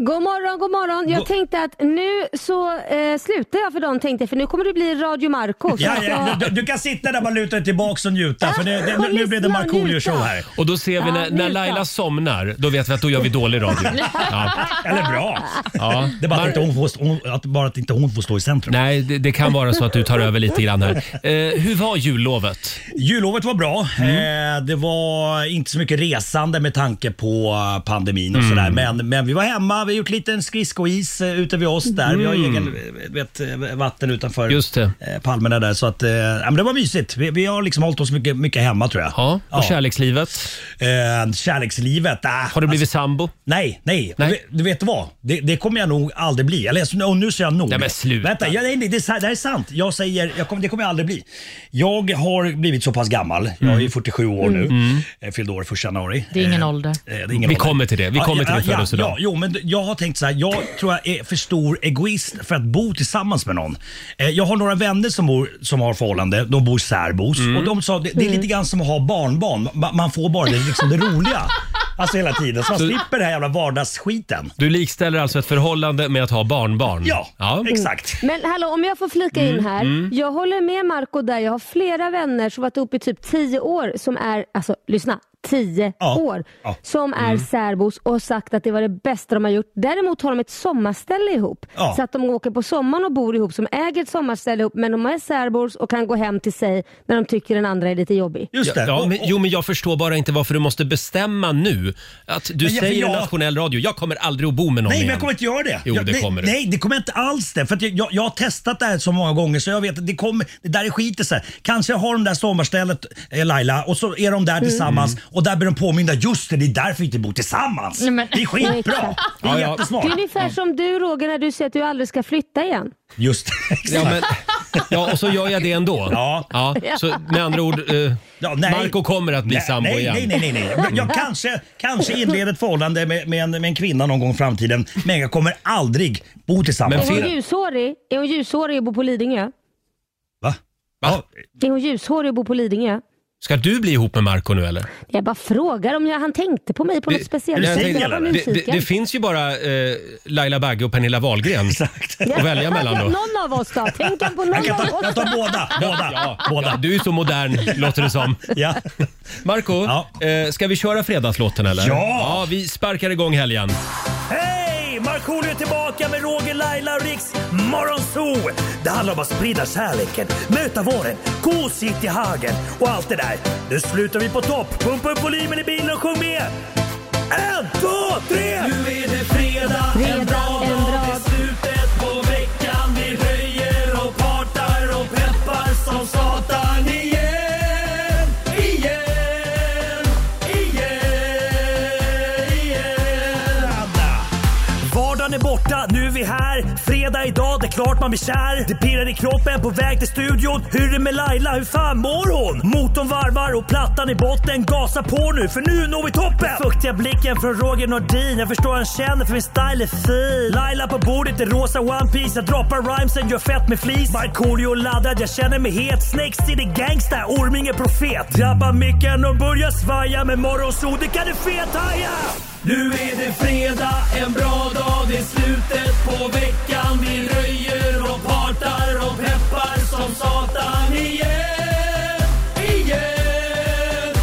D: God morgon, god morgon. Jag tänkte att nu så eh, slutar jag för dagen tänkte jag, för nu kommer det bli Radio Marco. Så
G: Ja,
D: att
G: ja,
D: jag-
G: du, du kan sitta där bara luta dig tillbaka och njuta för det, det,
D: Och
G: nu, nu blir det
D: lyssna,
G: Markoolio show
D: njuta.
G: här.
A: Och då ser vi när,
D: Ja,
A: när
D: njuta.
A: Laila somnar, då vet vi att då gör vi dålig radio. Ja,
G: Eller bra.
A: ja.
G: Det är bara att, inte hon får, hon, att, bara att inte hon får stå i centrum.
A: Nej, det, det kan vara så att du tar över lite grann här. Eh, hur var jullovet?
G: Jullovet var bra.
A: Mm.
G: Eh, det var inte så mycket resande med tanke på eh, pandemin
A: Mm.
G: och sådär. Men, men vi var hemma, vi har gjort lite skridskois eh, ute vid oss där. Vi har egen eh, vet, eh, vatten utanför
A: Mm. Just det.
G: eh, palmerna där. Så att, eh, ja, men det var mysigt. Vi, vi har liksom hållit oss mycket, mycket hemma tror jag.
A: Ja, och kärlekslivet?
G: Eh, kärlekslivet. ah,
A: Har du blivit sambo?
G: Nej, nej.
A: Nej.
G: Och vi- Du vet vad? Det, det kommer jag nog aldrig bli. Eller alltså, och nu säger jag nog.
A: Nej, men sluta.
G: Vänta, jag, nej, nej, det, är sa- det här är sant. Jag säger, jag kommer, det kommer jag aldrig bli. Jag har blivit så pass gammal.
A: Mm.
G: Jag är 47 år nu. Jag fyllde år första januari.
B: Det är ingen
G: Eh,
B: ålder.
G: eh, det är ingen
A: Vi
G: ålder.
A: kommer till det. Vi
G: Ja,
A: kommer till
G: ja,
A: din
G: ja,
A: födelsedag.
G: Ja, jo, men d- jag har tänkt så här. Jag tror jag är för stor egoist för att bo tillsammans med någon. Eh, Jag har några vänner som, bor, som har förhållande. De bor särbos.
A: Mm.
G: Och de sa det, det är lite grann som att ha barnbarn. Man, man får bara det, liksom det roliga. Alltså hela tiden. Så man slipper den här jävla vardagsskiten.
A: Du likställer alltså ett förhållande med att ha barnbarn?
G: Ja, exakt.
D: Men hallå, om jag får flika
G: Mm,
D: in här. Jag håller med Marco där. Jag har flera vänner som varit ihop i typ 10 år som är, alltså lyssna, 10
G: Ja.
D: år.
G: Ja. Mm.
D: Som är särbos och har sagt att det var det bästa de har gjort. Däremot har de ett sommarställe ihop.
G: Ja.
D: Så att de åker på sommaren och bor ihop, som äger ett sommarställe ihop, men de är särbos och kan gå hem till sig när de tycker den andra är lite jobbig.
G: Just det.
A: Ja,
G: Och-
A: men,
G: och-
A: jo, men jag förstår bara inte varför du måste bestämma nu. Att du
G: Men jag- för
A: säger i
G: jag-
A: nationell radio, jag kommer aldrig att bo med någon
G: Nej, men
A: igen.
G: jag kommer inte göra det.
A: Jo,
G: jag,
A: det
G: nej,
A: kommer du.
G: Nej, det kommer jag inte alls det. För att jag, jag, jag har testat det här så många gånger så jag vet att det, kommer, det där är skit i sig. Kanske har de där sommarstället, eh, Laila, och så är de där tillsammans och där blir de påminda. Just det, det är därför vi inte bor tillsammans.
B: Nej, men-
G: Det är skitbra. Det
A: Ja,
G: är
A: ja.
G: jättesmart.
D: Det är ungefär som du Roger när du säger att du aldrig ska flytta igen.
G: Just det.
A: Ja, men, ja, och så gör jag det ändå.
G: Ja.
A: Så med andra ord, eh,
G: Ja, nej.
A: Marco kommer att bli
G: Nej,
A: sambo
G: nej,
A: igen.
G: Nej, nej, nej. nej. Jag- Jag kanske, kanske inleder ett förhållande med, med, en, med en kvinna någon gång i framtiden, men jag kommer aldrig bo
A: Men
G: tillsammans
A: fin-
G: med
D: Är hon
G: henne.
D: ljushårig? Är hon ljushårig och bor på Lidingö?
G: Va?
A: Va?
D: Är hon ljushårig och bor på Lidingö?
A: Ska du bli ihop med Marco nu eller?
D: Jag bara frågar om jag, han tänkte på mig på något speciellt
G: är du
D: sätt.
G: singel,
D: Jag var
G: eller?
A: Det, det,
D: nyfiken.
A: det finns ju bara eh, Laila Bagge och Pernilla Wahlgren
G: Exakt.
A: att välja mellan då.
D: Någon av oss då? Tänk han på någon
G: Jag, kan
D: av
G: ta, jag
D: oss?
G: tar båda. Båda.
A: Ja, ja,
G: båda.
A: du är ju så modern låter det som.
G: Ja.
A: Marco,
G: Ja.
A: eh, ska vi köra fredagslåten eller?
G: Ja!
A: ja! Vi sparkar igång helgen.
G: Hej! Markoolio är tillbaka med Roger, Laila och Riks Morgonzoo! Det handlar om att sprida kärleken, möta våren, gosigt i hagen och allt det där. Nu slutar vi på topp! Pumpa upp volymen i bilen och sjung med! En, två, tre! Nu är det fredag,
D: Fredag, en bra dag.
G: slutet på veckan. Vi höjer och partar och peppar som satan igen, igen, igen, igen. Vardagen är borta, nu är vi här. Fredag idag, det är klart man blir kär. Det pirrar i kroppen på väg till studion. Hur är det med Laila, hur fan mår hon? Motorn varvar och plattan i botten. Gasa på nu, för nu når vi toppen! Den fuktiga blicken från Roger Nordin. Jag förstår han känner för min style är fin. Laila på bordet i rosa One Piece Jag droppar rhymesen, gör fett med flis. Markoolio laddad, jag känner mig het. Snake City Gangsta, Orminge Profet. Drabbar micken och börjar svaja. Med morgonsol, det kan du fethaja! Nu är det fredag, en bra dag, det är slutet på veckan. Vi röjer och partar och peppar som satan igen, igen,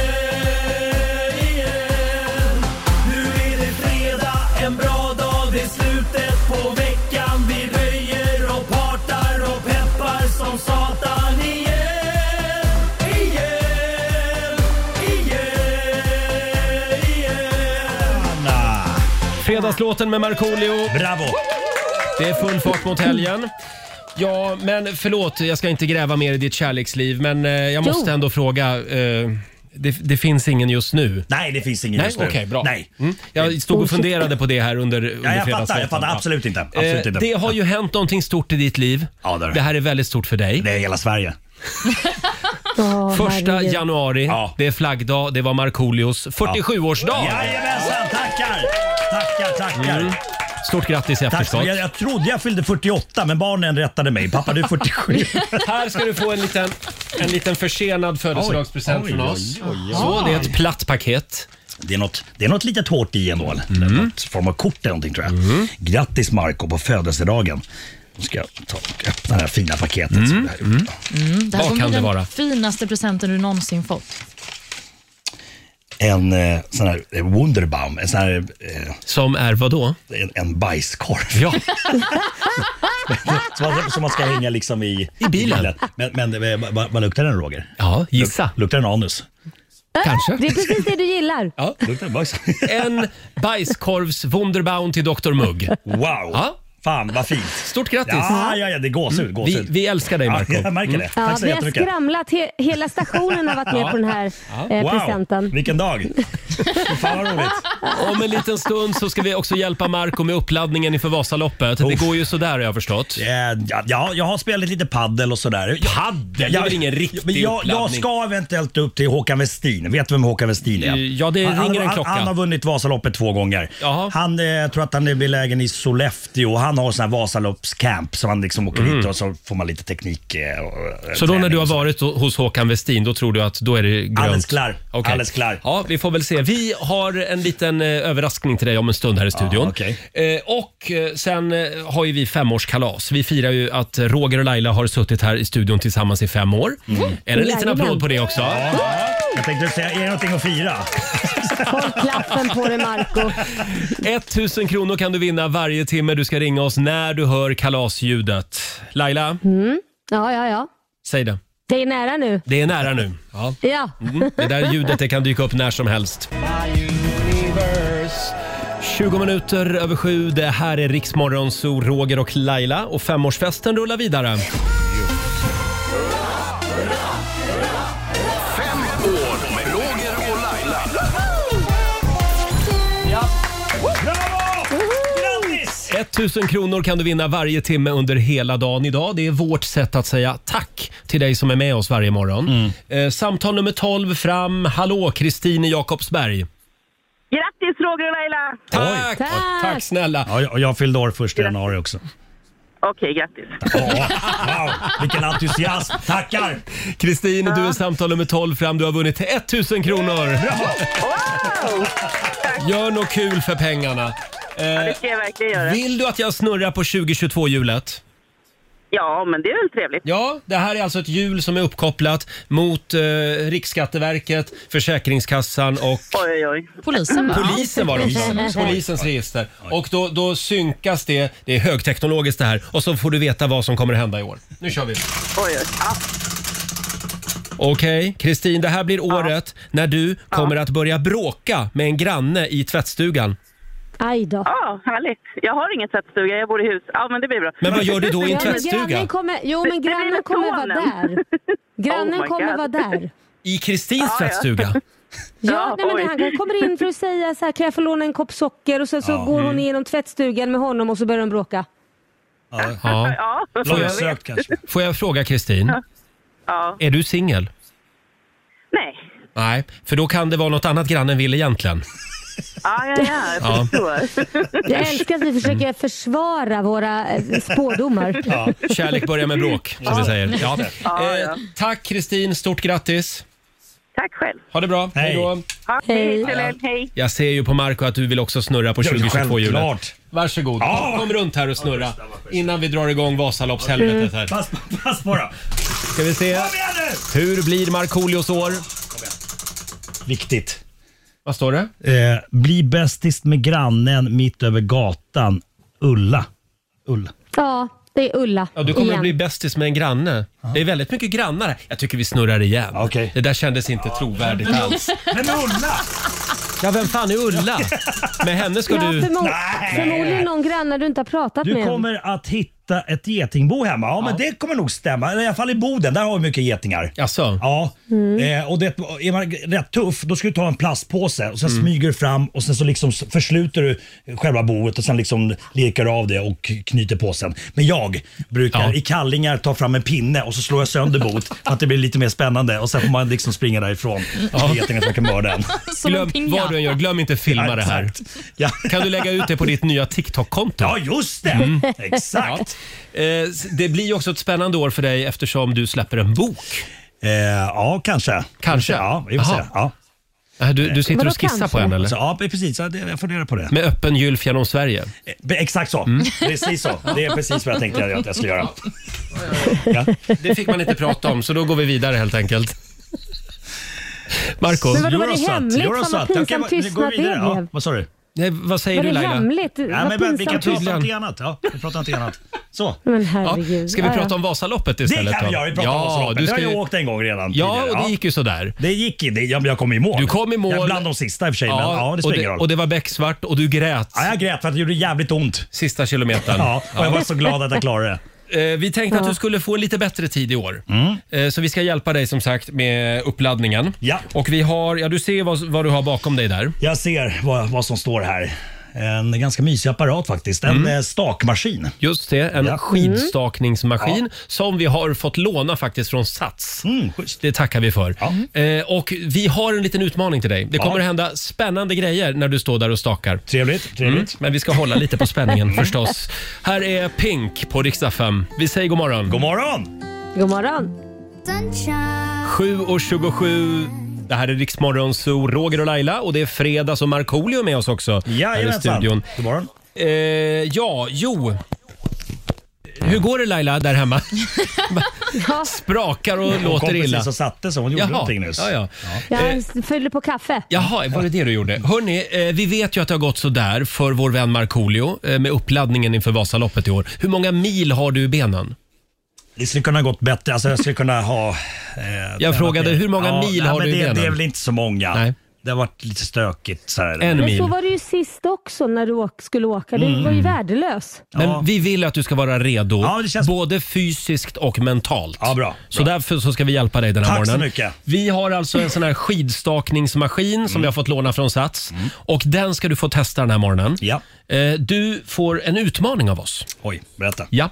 G: igen, igen. Nu är det fredag, en bra dag, det är slutet på veckan. Vi röjer och partar och peppar som satan igen, igen, igen, igen.
A: Fredagslåten med Markoolio.
G: Bravo!
A: Det är full fart mot helgen. Ja, men förlåt, jag ska inte gräva mer i ditt kärleksliv, men eh, jag
D: Jo.
A: måste ändå fråga. Eh, det, det finns ingen just nu?
G: Nej, det finns ingen
A: Nej,
G: just nu.
A: okej, bra.
G: Nej.
A: Mm. Jag stod och funderade på det här under,
G: Ja,
A: under
G: jag fattar,
A: fredagslåten.
G: jag fattar.
A: Ja.
G: Absolut inte. Absolut
A: Eh,
G: inte.
A: det har ju hänt någonting stort i ditt liv.
G: Ja, det har det.
A: här är väldigt stort för dig.
G: Det är hela Sverige.
D: Åh,
A: Första
D: herregud.
A: januari,
G: Ja.
A: det är flaggdag, det var Markoolios 47-årsdag.
G: Jajamensan, tackar! Tackar, tackar.
A: Mm, Stort grattis i
G: Tack, så-
A: efterskott.
G: jag, jag trodde jag fyllde 48 men barnen rättade mig. Pappa du är 47.
A: Här ska du få en liten, en liten försenad födelsedagspresent
G: Oj,
A: från
G: oj,
A: oss.
G: oj, oj.
A: Så, det är ett platt paket.
G: det, är något, det är något litet hårt i ändå.
A: Mm.
G: eller? Det är Något form av kort eller någonting tror jag. Grattis Marco på födelsedagen. Nu ska jag ta och öppna det här fina paketet.
A: Mm,
G: Som jag har gjort.
B: Det här
A: Vad
B: kommer
A: kan
B: bli
A: det
B: den
A: vara?
B: finaste presenten du någonsin fått.
G: En eh, sån här eh, Wunderbaum, en sån här eh,
A: Som är vad då?
G: en, en bajskorv.
A: Ja,
G: Som man, som man ska hänga liksom i,
A: I bilen.
G: Men, men eh, vad- vad vad luktar den Roger?
A: ja gissa.
G: Luktar den anus?
D: Det
A: Kanske.
D: är precis det du gillar.
A: Ja.
G: Luktar den bajs?
A: En bajskorvs Wunderbaum till Dr Mugg.
G: Wow!
A: Ja.
G: Fan vad fint.
A: Stort grattis!
G: Ja, ja, ja, det är gåshud.
A: Vi,
G: gåshud.
A: vi älskar dig
G: ja,
A: Marco.
G: jag märker det.
D: Mm. Ja,
G: Tack så
D: vi har
G: jättemycket.
D: skramlat. He- hela stationen har varit med på den här eh, presenten.
G: vilken dag. Fan vad roligt.
A: Om en liten stund så ska vi också hjälpa Marco med uppladdningen inför Vasaloppet. Det
G: Uff.
A: går ju sådär har jag förstått.
G: Eh, Ja, ja, jag har spelat lite paddel och sådär. Jag,
A: Paddel? Det är väl ingen riktig
G: men jag, jag
A: uppladdning? Eh,
G: ska eventuellt upp till Håkan Westin. Vet du vem Håkan Westin är?
A: Ja, det
G: han,
A: ringer en
G: han,
A: klocka.
G: han har vunnit Vasaloppet två gånger.
A: Jaha.
G: Han eh, jag tror att han är belägen i Sollefteå. Han har sån här Vasaloppscamp som han liksom åker dit och så får man lite teknik. eh, och, eh,
A: Mm. Så då när
G: träning
A: du har
G: och så.
A: varit hos Håkan Westin, då tror du att då är det grönt?
G: Alldeles klar.
A: Okej.
G: Alldeles klar.
A: Ja, vi får väl se. Vi har en liten eh, överraskning till dig om en stund här i studion.
G: okej.
A: eh, och eh, sen eh, har ju vi femårskalas. Vi firar ju att Roger och Laila har suttit här i studion tillsammans i fem år. Är det en liten
D: Jajamän.
A: applåd på det också?
G: Mm. Ja, jag tänkte säga, är det någonting att fira?
D: Håll klaffen på dig Marco
A: 1000 kronor kan du vinna varje timme. Du ska ringa oss när du hör kalasljudet. Laila,
D: Ja, ja, ja.
A: säg det.
D: Det är nära nu.
A: Det är nära nu. Ja.
D: Ja.
A: Mm. Det där ljudet det kan dyka upp när som helst. 20 minuter över sju. Det här är Riksmorgon, så Roger och Laila och femårsfesten rullar vidare.
C: Fem år med Roger och Laila.
G: Bravo! Grattis!
A: 1000 kronor kan du vinna varje timme under hela dagen idag. Det är vårt sätt att säga tack till dig som är med oss varje morgon. Eh, samtal nummer 12 fram. Hallå, Kristin i Jakobsberg.
E: Grattis Roger och Laila!
A: Tack!
D: Tack.
A: Tack snälla.
G: Ja, jag- och jag fyllde år första januari också.
E: Okej, grattis.
G: Ja, wow, vilken entusiasm. Tackar!
A: Kristin, du är samtal nummer 12 fram. Du har vunnit till 1000 kronor.
E: Wow!
A: Gör något kul för pengarna.
E: Det ska jag verkligen göra.
A: Vill du att jag snurrar på 2022-hjulet?
E: Ja, men det är väl trevligt.
A: Ja, det här är alltså ett hjul som är uppkopplat mot eh, Riksskatteverket, Försäkringskassan och
E: Oj, oj, oj.
B: Polisen va?
A: Ah, Polisen var det också. Polisens register. Och då, då synkas det. Det är högteknologiskt det här. Och så får du veta vad som kommer att hända i år. Nu kör vi.
E: oj, oj. Ja,
A: Okej, Kristin, det här blir året när du kommer att börja bråka med en granne i tvättstugan.
D: Aj då.
E: ja, härligt. Jag har ingen tvättstuga, jag bor i hus. Ja, men det blir bra.
A: Men vad gör du då i en
D: Ja, men
A: tvättstuga?
D: grannen kommer, jo, men
E: Det blir
D: grannen
E: med
D: kommer vara
E: sonen.
D: där. Grannen
E: Oh my
D: kommer
E: God.
D: vara där.
A: I Kristins
E: ja.
A: tvättstuga?
D: Ja,
E: Ja,
D: nej, men
E: oj.
D: han kommer in för att säga så här, kan jag få låna en kopp socker? Och sen så går
A: Mm.
D: hon igenom tvättstugan med honom och så börjar de bråka.
A: Ja.
E: Ja,
G: Långsökt kanske.
A: Får jag fråga Kristin,
E: Ja.
A: är du singel?
E: Nej.
A: Nej, för då kan det vara något annat grannen vill egentligen.
E: Ja, ja, ja. Jag
A: Ja.
E: förstår.
D: Jag älskar att vi försöker
A: Mm.
D: försvara våra eh, spådomar.
A: Kärlek börjar med bråk, som vi säger. Ja.
E: Ja, ja.
A: Eh, tack Kristin, stort grattis.
E: Tack själv.
A: Ha det bra.
G: Hej.
A: Hej då.
E: Ha,
D: Hej.
E: hej. Hej. hej.
A: Jag ser ju på Marco att du vill också snurra på
G: Ja,
A: 2022-hjulet.
G: självklart.
A: Varsågod,
G: Ja.
A: kom runt här och snurra innan vi drar igång Vasaloppshelvetet här.
G: Pass, pass på då.
A: Ska vi se,
G: Kom igen nu!
A: hur blir Markoolios år?
G: Viktigt.
A: Vad står det?
G: Eh, bli bästis med grannen mitt över gatan, Ulla. Ulla.
D: Ja, det är Ulla
A: Ja, du kommer
D: igen.
A: att bli bästis med en granne. Det är väldigt mycket grannar här. Jag tycker vi snurrar igen.
G: Okej.
A: Det där kändes inte trovärdigt alls.
G: Men Ulla!
A: Ja, vem fan är Ulla? Med henne ska
D: Ja,
A: du...
D: förmo-
G: Nej.
D: Förmodligen någon granne du inte har pratat
G: Du
D: med.
G: kommer att hitta ett getingbo hemma. Ja, men det kommer nog stämma. Eller I alla fall i Boden, där har vi mycket getingar.
A: Jaså?
G: Ja,
A: Mm.
G: eh, och det, är man rätt tuff då ska du ta en plastpåse och sen
A: Mm.
G: smyger du fram och sen så liksom försluter du själva boet och sen liksom lekar du av det och knyter påsen. Men jag brukar
A: Ja.
G: i kallingar ta fram en pinne och så slår jag sönder boet för att det blir lite mer spännande och sen får man liksom springa därifrån. Ja. Getingen som kan mörda en.
B: Som en
A: Glöm,
B: pinja.
A: vad du än gör, glöm inte filma det här.
G: Exakt. Ja.
A: Kan du lägga Mm. ut det på ditt nya TikTok-konto?
G: ja, just det! Exakt.
A: Eh, s- Det blir ju också ett spännande år för dig eftersom du släpper en bok.
G: Ja, eh, ja kanske.
A: Kanske?
G: Ja, vi får se.
A: Jaha.
G: Ja.
A: Äh, Du, du sitter
D: Vadå
A: och skissar på
D: kanske?
A: en eller?
G: Så, ja, precis. Ja, det- Jag funderar på det.
A: Med öppen gylf genom Sverige.
G: Eh, Exakt så.
A: Mm.
G: Precis så. Det är precis vad jag tänkte att jag skulle göra.
A: Det fick man inte prata om så då går vi vidare helt enkelt. Marco,
D: Men vadå, var det
G: Eurosat,
D: hemligt? Fan, vad
G: Eurosat.
D: pinsam
G: Okej, men
D: tystnad
G: gå vidare.
D: det
G: ja,
D: blev.
G: Vad sa du?
A: nej, eh, vad säger
D: Var
A: du
D: det
A: Laila?
D: hemligt?
G: Nej,
D: Vad
G: men vi kan
D: pinsamt.
A: ta-
G: prata
A: Tydligen.
G: om något annat. Ja, vi pratar om något annat. Så.
D: Men
A: Ja,
D: herregud.
A: ska vi
D: Ja, ja.
A: prata om Vasaloppet
G: Det
A: istället?
G: kan vi
A: då?
G: göra. Vi pratar om
A: ja,
G: Vasaloppet.
A: du
G: Det har
A: ska
G: jag
A: ju...
G: åkt en gång redan
A: Ja,
G: tidigare.
A: och det gick ju sådär.
G: Det gick i- det, ja, men jag kom i mål.
A: Du kom i mål.
G: Jag är bland de sista i och för sig, ja, men ja, det
A: och,
G: spelar
A: det,
G: ingen
A: och
G: roll.
A: det var becksvart och du grät
G: Ja, jag grät för att det gjorde jävligt ont.
A: sista kilometern.
G: Ja, och jag var så glad att jag klarade det.
A: Eh, Vi tänkte att du skulle få en lite bättre tid i år.
G: Mm.
A: Eh, Så vi ska hjälpa dig som sagt med uppladdningen.
G: Ja.
A: Och vi har, ja du ser vad, vad du har bakom dig där.
G: Jag ser vad, vad som står här. En ganska mysig apparat faktiskt.
A: Mm.
G: En eh, stakmaskin.
A: Just det, en
G: Ja.
A: skidstakningsmaskin som vi har fått låna faktiskt från Sats.
G: Mm, schysst.
A: Det tackar vi för.
G: Ja.
A: Eh, och vi har en liten utmaning till dig. Det kommer att hända spännande grejer när du står där och stakar.
G: Trevligt. trevligt.
A: Men vi ska hålla lite på spänningen förstås. Här är Pink på riksdag 5. Vi säger god morgon.
G: God morgon!
D: God morgon.
A: 7.27. Det här är Riksmorgon Zoo, Roger och Laila och det är fredag så Markoolio är med oss också här i
G: Jajamensan.
A: studion.
G: God morgon.
A: Eh, ja, jo. Hur går det Laila där hemma? Sprakar och
G: Hon
A: låter
G: kom
A: illa.
G: precis och satte sig. Hon gjorde någonting nyss.
A: Ja, ja. Eh.
D: Jag fyller på kaffe.
A: Jaha, var det det du gjorde? Hörni, eh, vi vet ju att det har gått sådär för vår vän Markoolio eh, med uppladdningen inför Vasaloppet i år. Hur många mil har du i benen?
G: Det skulle kunna gått bättre. Alltså, jag skulle kunna ha... eh, tränat
A: frågade,
G: mer.
A: hur många mil
G: nej,
A: har
G: men
A: du i
G: det,
A: benen?
G: det är väl inte så många.
A: Nej.
G: det har varit lite stökigt. Så här.
A: En
D: Men
A: mil.
D: så var det ju sist också när du åk- skulle åka. Du
A: Mm.
D: var ju värdelös.
A: Men
G: Ja.
A: vi vill att du ska vara redo,
G: Ja, det känns-
A: både fysiskt och mentalt.
G: Ja, bra,
A: Så därför så ska vi hjälpa dig den här
G: Tack så
A: morgonen.
G: mycket. Mm.
A: Vi har alltså en sån här skidstakningsmaskin som vi har fått låna från Sats. Och den ska du få testa den här morgonen.
G: Ja.
A: Eh, Du får en utmaning av oss.
G: Oj, berätta.
A: Ja.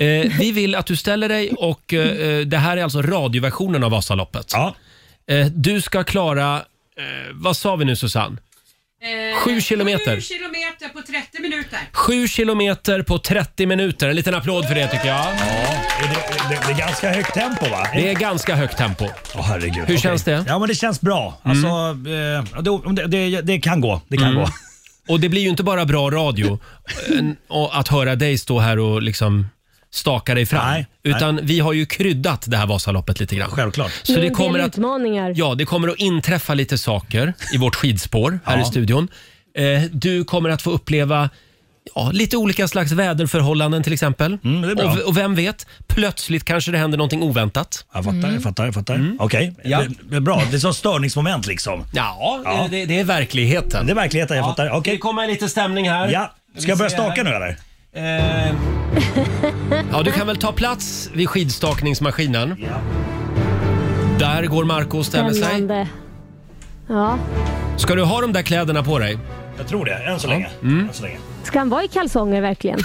A: Eh, vi vill att du ställer dig och eh, det här är alltså radioversionen av Vasaloppet.
G: Ja.
A: Eh, du ska klara, eh, vad sa vi nu Susanne? Sju kilometer.
H: Sju kilometer på 30 minuter.
A: Sju kilometer på 30 minuter. En liten applåd för det tycker jag.
G: Det, det, det är ganska högt tempo va?
A: Det är ganska högt tempo.
G: Åh, herregud.
A: Hur
G: Okej.
A: känns det? Mm.
G: Ja men det känns bra. Alltså, eh, ja, det, om det, det, det kan gå. Det kan gå.
A: Och det blir ju inte bara bra radio eh, och att höra dig stå här och liksom staka dig fram.
G: Nej, nej.
A: Utan vi har ju kryddat det här Vasaloppet lite grann.
G: Självklart.
A: Så
D: Med
A: det
D: en del
A: kommer att
D: utmaningar.
A: Ja, det kommer att inträffa lite saker i vårt skidspår här
G: Ja.
A: i studion. Eh, du kommer att få uppleva ja, lite olika slags väderförhållanden till exempel.
G: Mm, det är bra.
A: Och, och vem vet, plötsligt kanske det händer någonting oväntat.
G: Jag fattar, jag fattar, jag fattar. Okej,
A: Mm. Ja.
G: det, det är bra. Det är som störningsmoment liksom.
A: Ja,
G: Ja.
A: Det, det är verkligheten.
G: Det är verkligheten, jag fattar.
A: Det
G: Okej.
A: kommer lite stämning här.
G: Ja. Ska jag börja staka nu eller?
A: Eh, ja, du kan väl ta plats vid skidstakningsmaskinen. Där går Marco och ställer sig.
D: Spännande. Ja.
A: Ska du ha de där kläderna på dig?
G: Jag tror det, än så länge. Än så länge.
D: Ska han vara i kalsonger verkligen?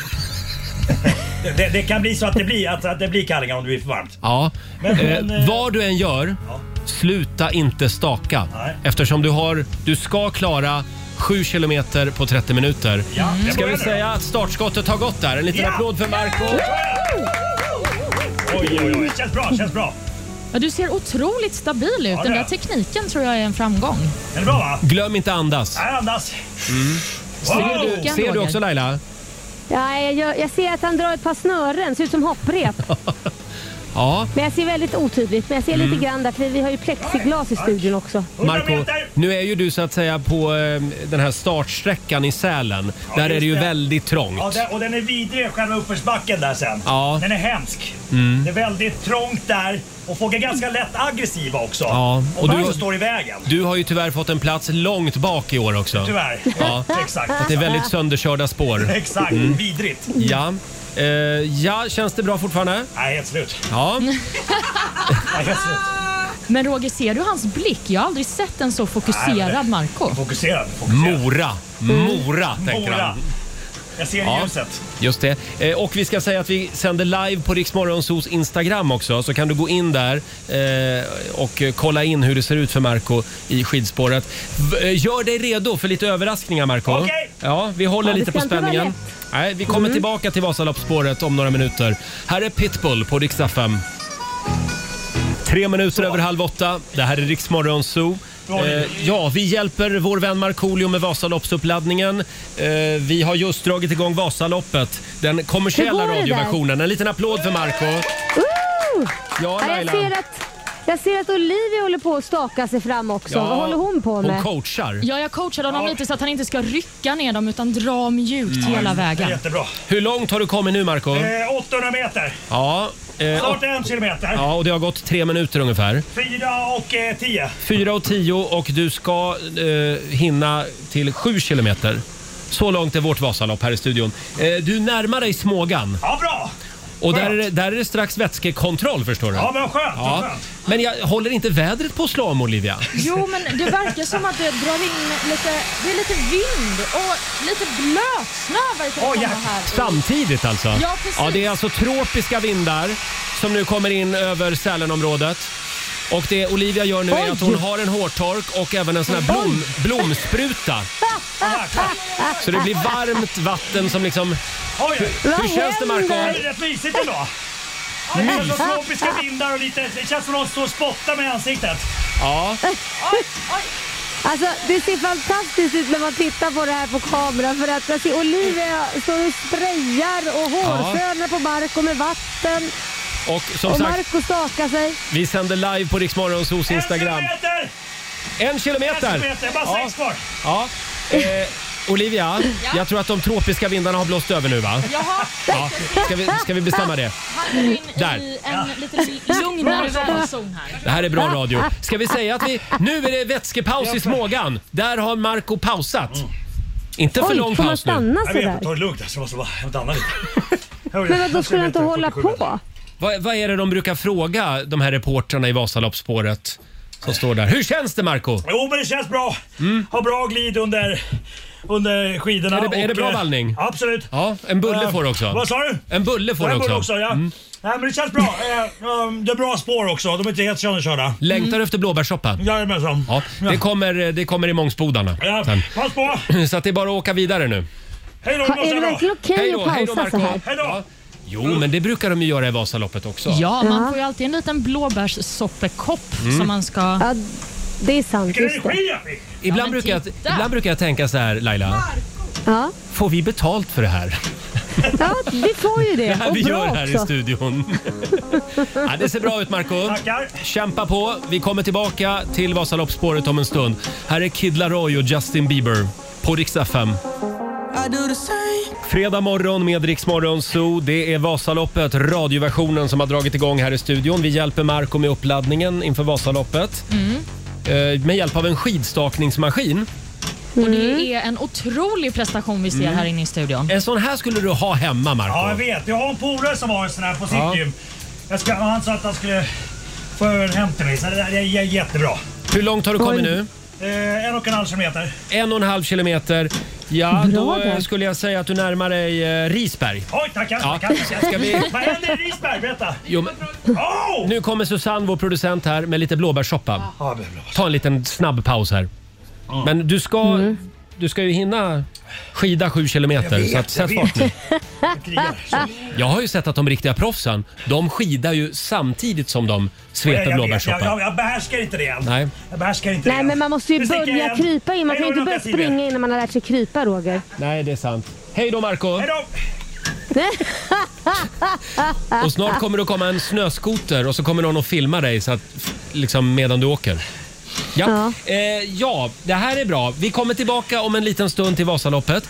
G: Det, det kan bli så att det blir, att, att det blir kallingar om det blir för varmt.
A: Ja.
G: Men- men,
A: eh,
G: eh,
A: vad du än gör,
G: Ja.
A: sluta inte staka.
G: Nej.
A: Eftersom du, har, du ska klara 7 kilometer på 30 minuter.
G: Ja, jag
A: Ska
G: börjar
A: vi
G: nu.
A: säga att startskottet har gått där? En liten
G: Ja.
A: applåd för Marco.
G: Oj, oj, oj. Känns bra, känns bra.
B: Ja, du ser otroligt stabil ut.
G: det
B: Den
G: är
B: där
G: jag.
B: tekniken tror jag är en framgång.
G: Är det bra va?
A: Glöm inte andas.
G: Här andas.
B: Ser
G: Wow!
B: du? Vilken,
A: Ser du
B: Roger?
A: också Laila?
D: Ja, jag, jag ser att han drar ett par snören, ser ut som hopprep.
A: Ja,
D: Men jag ser väldigt otydligt. Men jag ser
A: Mm.
D: lite grann där, för vi har ju plexiglas i studion också.
G: 100
A: Marco,
G: meter!
A: nu är ju du så att säga på eh, den här startsträckan i Sälen. Där är
G: just
A: det ju
G: det.
A: väldigt
G: Ja,
A: trångt.
G: den, och den är vidrig själva uppförsbacken där sen.
A: Ja.
G: Den är hemsk. Det är väldigt trångt där och folk är ganska lätt aggressiva också.
A: Ja, och
G: Och,
A: du-
G: du står i vägen.
A: Du har ju tyvärr fått en plats långt bak i år också.
G: Tyvärr.
A: Ja.
G: Exakt.
A: Det är väldigt sönderkörda spår.
G: Exakt. Vidrigt.
A: Ja. Eh, ja, känns det bra fortfarande?
G: Nej, helt slut.
A: Ja.
G: Nej, helt slut.
B: Men Roger, ser du hans blick? Jag har aldrig sett en så
G: Nej,
B: fokuserad
G: men-
B: Marco.
G: Fokuserad. Fokuserad.
A: Mora. Mora, tänker
G: Mora.
A: han.
G: Jag ser
A: Ja.
G: ljuset.
A: Just det. Eh, och vi ska säga att vi sänder live på Riksmorgonsos Instagram också. Så kan du gå in där eh, och eh, kolla in hur det ser ut för Marco i skidspåret. V- eh, gör dig redo för lite överraskningar Marco.
G: Okej.
A: Ja, vi håller
D: Ja, det
A: lite på
D: ska inte vara
A: spänningen.
D: lätt. Mm.
A: Nej, vi kommer tillbaka till Vasaloppsspåret om några minuter. Här är Pitbull på Rix FM. Tre minuter över halv åtta. Det här är Riksmorgon Zoo. Eh, ja, vi hjälper vår vän Markoolio med Vasaloppsuppladdningen. Eh, vi har just dragit igång Vasaloppet, den kommersiella
D: Hur går det
A: radioversionen. En liten applåd för Marco
D: Woo!
A: Ja,
D: Ja, jag,
A: Laila.
D: ser att, jag ser att Olivia håller på att staka sig fram också.
A: Ja,
D: Vad håller hon på med?
A: Hon coachar.
B: Ja, jag coachade honom lite så att han inte ska rycka ner dem utan dra mjukt
G: Mm.
B: hela vägen.
G: Jättebra.
A: Hur långt har du kommit nu Marco?
G: Eh, 800 meter.
A: Ja, eh, och,
G: Snart en kilometer.
A: ja, och det har gått tre minuter ungefär.
G: Fyra och eh, tio.
A: Fyra och tio och du ska eh, hinna till sju kilometer. Så långt är vårt Vasalopp här i studion. Eh, du närmar dig Smågan.
G: Ja, bra.
A: Och
G: Skönt.
A: där är, det, där är det strax vätskekontroll förstår du.
G: Ja, men skönt. vad
A: Ja.
G: skönt.
A: Men jag håller inte vädret på att slå om Olivia?
B: Jo, men det verkar som att det drar in lite, det är lite vind och lite blötsnö verkar det
G: Åh,
B: komma
G: ja.
B: här.
A: Samtidigt alltså?
B: Ja, precis.
A: Ja, det är alltså tropiska vindar som nu kommer in över Sälenområdet. Och det Olivia gör nu är att hon har en hårtork och även en sån här blom, blomspruta. Så det blir varmt vatten som liksom...
G: Oj,
D: Vad
A: Hur känns det Marco?
G: det är rätt mysigt ändå. Det är så tropiska vindar och lite, det känns som att de står och spottar mig i ansiktet.
A: Ja,
D: Alltså, det ser fantastiskt ut när man tittar på det här på kameran. För att jag ser Olivia står och sprayar och hårfönar på Marco med vatten.
A: och som
D: Och
A: sagt,
D: Marco stakar sig.
A: vi sänder live på Riksmorgonsos Instagram.
G: En kilometer!
A: En
G: En
A: kilometer!
G: kilometer, bara sex kvar.
A: Ja. Eh, Olivia, jag tror att de tropiska vindarna har blåst över nu va?
B: Jaha,
A: Ja. Ska, vi, ska vi bestämma det?
B: halkar in
A: Där.
B: i en lite lugnare väderzon här.
A: Det här är bra radio. Ska vi säga att vi, nu är det vätskepaus i Smågan. Där har Marco pausat. Inte för lång
D: Mm. Oj, får man
A: paus nu.
D: stanna
G: Jag vet,
D: sådär?
G: ta det lugnt. alltså, Jag måste bara jag stannar lite.
D: Men vadå, skulle jag inte hålla på?
A: Vad, vad är det de brukar fråga de här reportrarna i Vasaloppsspåret som står där? Hur känns det Marco?
G: Jo, men det känns bra. Har bra glid under, under skidorna.
A: Mm. Är det- är det bra
G: eh,
A: vallning?
G: Absolut.
A: Ja, en bulle
G: Eh,
A: får du
G: Vad
A: också.
G: sa du?
A: En bulle får
G: Ja,
A: du
G: en bulle
A: också. Mm.
G: också ja. Nej, men det känns bra. Eh, um, det är bra spår också. De är inte helt sönderkörda.
A: Längtar du efter blåbärssoppa?
G: Jajamensan.
A: Ja, det kommer, det kommer i Mångsbodarna.
G: Ja,
A: sen.
G: pass på!
A: Så att det är bara att åka vidare nu.
G: Hej då,
D: Ha,
G: måste
D: är det
G: jag dra.
D: verkligen okej att pausa så här?
G: Hej då.
A: Ja. Jo, men det brukar de ju göra i Vasaloppet också.
B: Ja, man
D: Ja.
B: får ju alltid en liten blåbärssoppekopp
G: Mm.
B: som man ska...
D: Ja, det är sant.
G: Vilken
D: Just det.
G: energi jag fick!
A: Ibland,
B: men
A: brukar jag,
B: titta.
A: ibland brukar jag tänka så här, Laila.
D: Ja.
A: Får vi betalt för det här?
D: ja, vi får ju det.
A: Det här
D: Och
A: vi
D: bra
A: gör här i
D: också.
A: studion. ja, det ser bra ut, Marco.
G: Tackar.
A: Kämpa på. Vi kommer tillbaka till Vasaloppsspåret om en stund. Här är Kid Laroi och Justin Bieber på riksdag 5. Fredag morgon med Rix Morgon Zoo. Det är Vasaloppet, radioversionen, som har dragit igång här i studion. Vi hjälper Marco med uppladdningen inför Vasaloppet.
G: Mm.
A: Eh, Med hjälp av en skidstakningsmaskin.
B: Och
D: Mm.
B: det är en otrolig prestation vi ser här inne i studion.
A: En sån här skulle du ha hemma, Marco.
G: Ja, jag vet. Jag har en polare som har en sån här på sitt
A: Ja.
G: gym. Jag ska, han sa att han skulle få över den hem till mig, så det där är j- jättebra.
A: Hur långt har du kommit nu?
G: Eh, en och en halv kilometer.
A: En och en halv kilometer. Ja,
D: Bra
A: då eh,
D: där.
A: skulle jag säga att du närmar dig eh, Risberg.
G: Oj, tackar!
A: Ja,
G: tackar, tackar.
A: ska vi-
G: Vad händer i Risberg? Berätta!
A: Jo, men
G: Oh!
A: nu kommer Susanne, vår producent här, med lite blåbärssoppa.
G: Ja, det är bra.
A: Ta en liten snabb paus här. Men du ska, du ska ju hinna skida sju kilometer,
G: vet,
A: så att,
G: Mm. jag
A: sätt fart
G: vet.
A: nu.
G: Jag krigar. Så-
A: Jag har ju sett att de riktiga proffsen, de skidar ju samtidigt som de
G: Jag-
A: sveper
G: jag, vet, jag,
A: blåbärssoppa.
G: jag, jag behärskar inte det än.
A: Nej.
G: Jag behärskar inte det
D: Nej,
G: än.
D: men man måste ju
G: Nu sticker jag
D: börja
G: igen.
D: krypa in. Man kan
G: Hej
D: ju
G: då,
D: inte börja
G: Lotta Siver.
D: springa innan man har lärt sig krypa, Roger.
A: Nej, det är sant. Hej då Marco
G: Hej då!
A: Och snart kommer det komma en snöskoter och så kommer någon att filma dig så att, liksom, medan du åker. Ja. Eh, ja, det här är bra. Vi kommer tillbaka om en liten stund till Vasaloppet.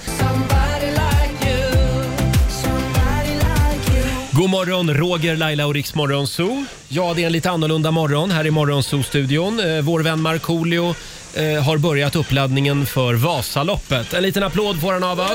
A: God morgon, Roger, Laila och Riksmorgon Zoo. Ja, det är en lite annorlunda morgon här i Morgonzoo-studion. Eh, vår vän Markoolio eh, har börjat uppladdningen för Vasaloppet. En liten applåd får han av oss.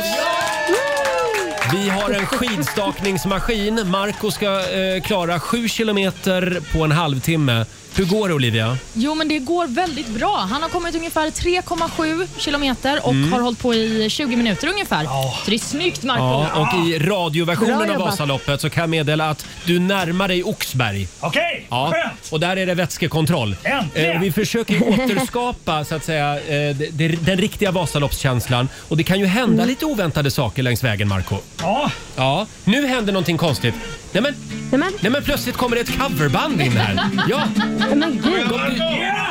A: Vi har en skidstakningsmaskin. Marco ska eh, klara sju kilometer på en halvtimme. Hur går det Olivia?
B: Jo, men det går väldigt bra. Han har kommit ungefär 3,7 kilometer och
D: Mm.
B: har hållit på i 20 minuter ungefär. Så det är snyggt, Marco.
A: Ja, och i
D: Bra
A: radioversionen av
D: jobbat.
A: Vasaloppet så kan jag meddela att du närmar dig Oxberg.
G: Okej,
A: Ja,
G: skönt!
A: och där är det vätskekontroll.
G: Äntligen!
A: Eh, vi försöker ju återskapa så att säga, eh, det- det- den riktiga Vasaloppskänslan. Och det kan ju hända
D: Mm.
A: lite oväntade saker längs vägen, Marco.
G: Ja,
A: Ja, nu händer någonting konstigt. Nej men,
D: Nej, men,
A: nej men plötsligt kommer det ett coverband in här. Ja,
D: nej, men gud.
A: de,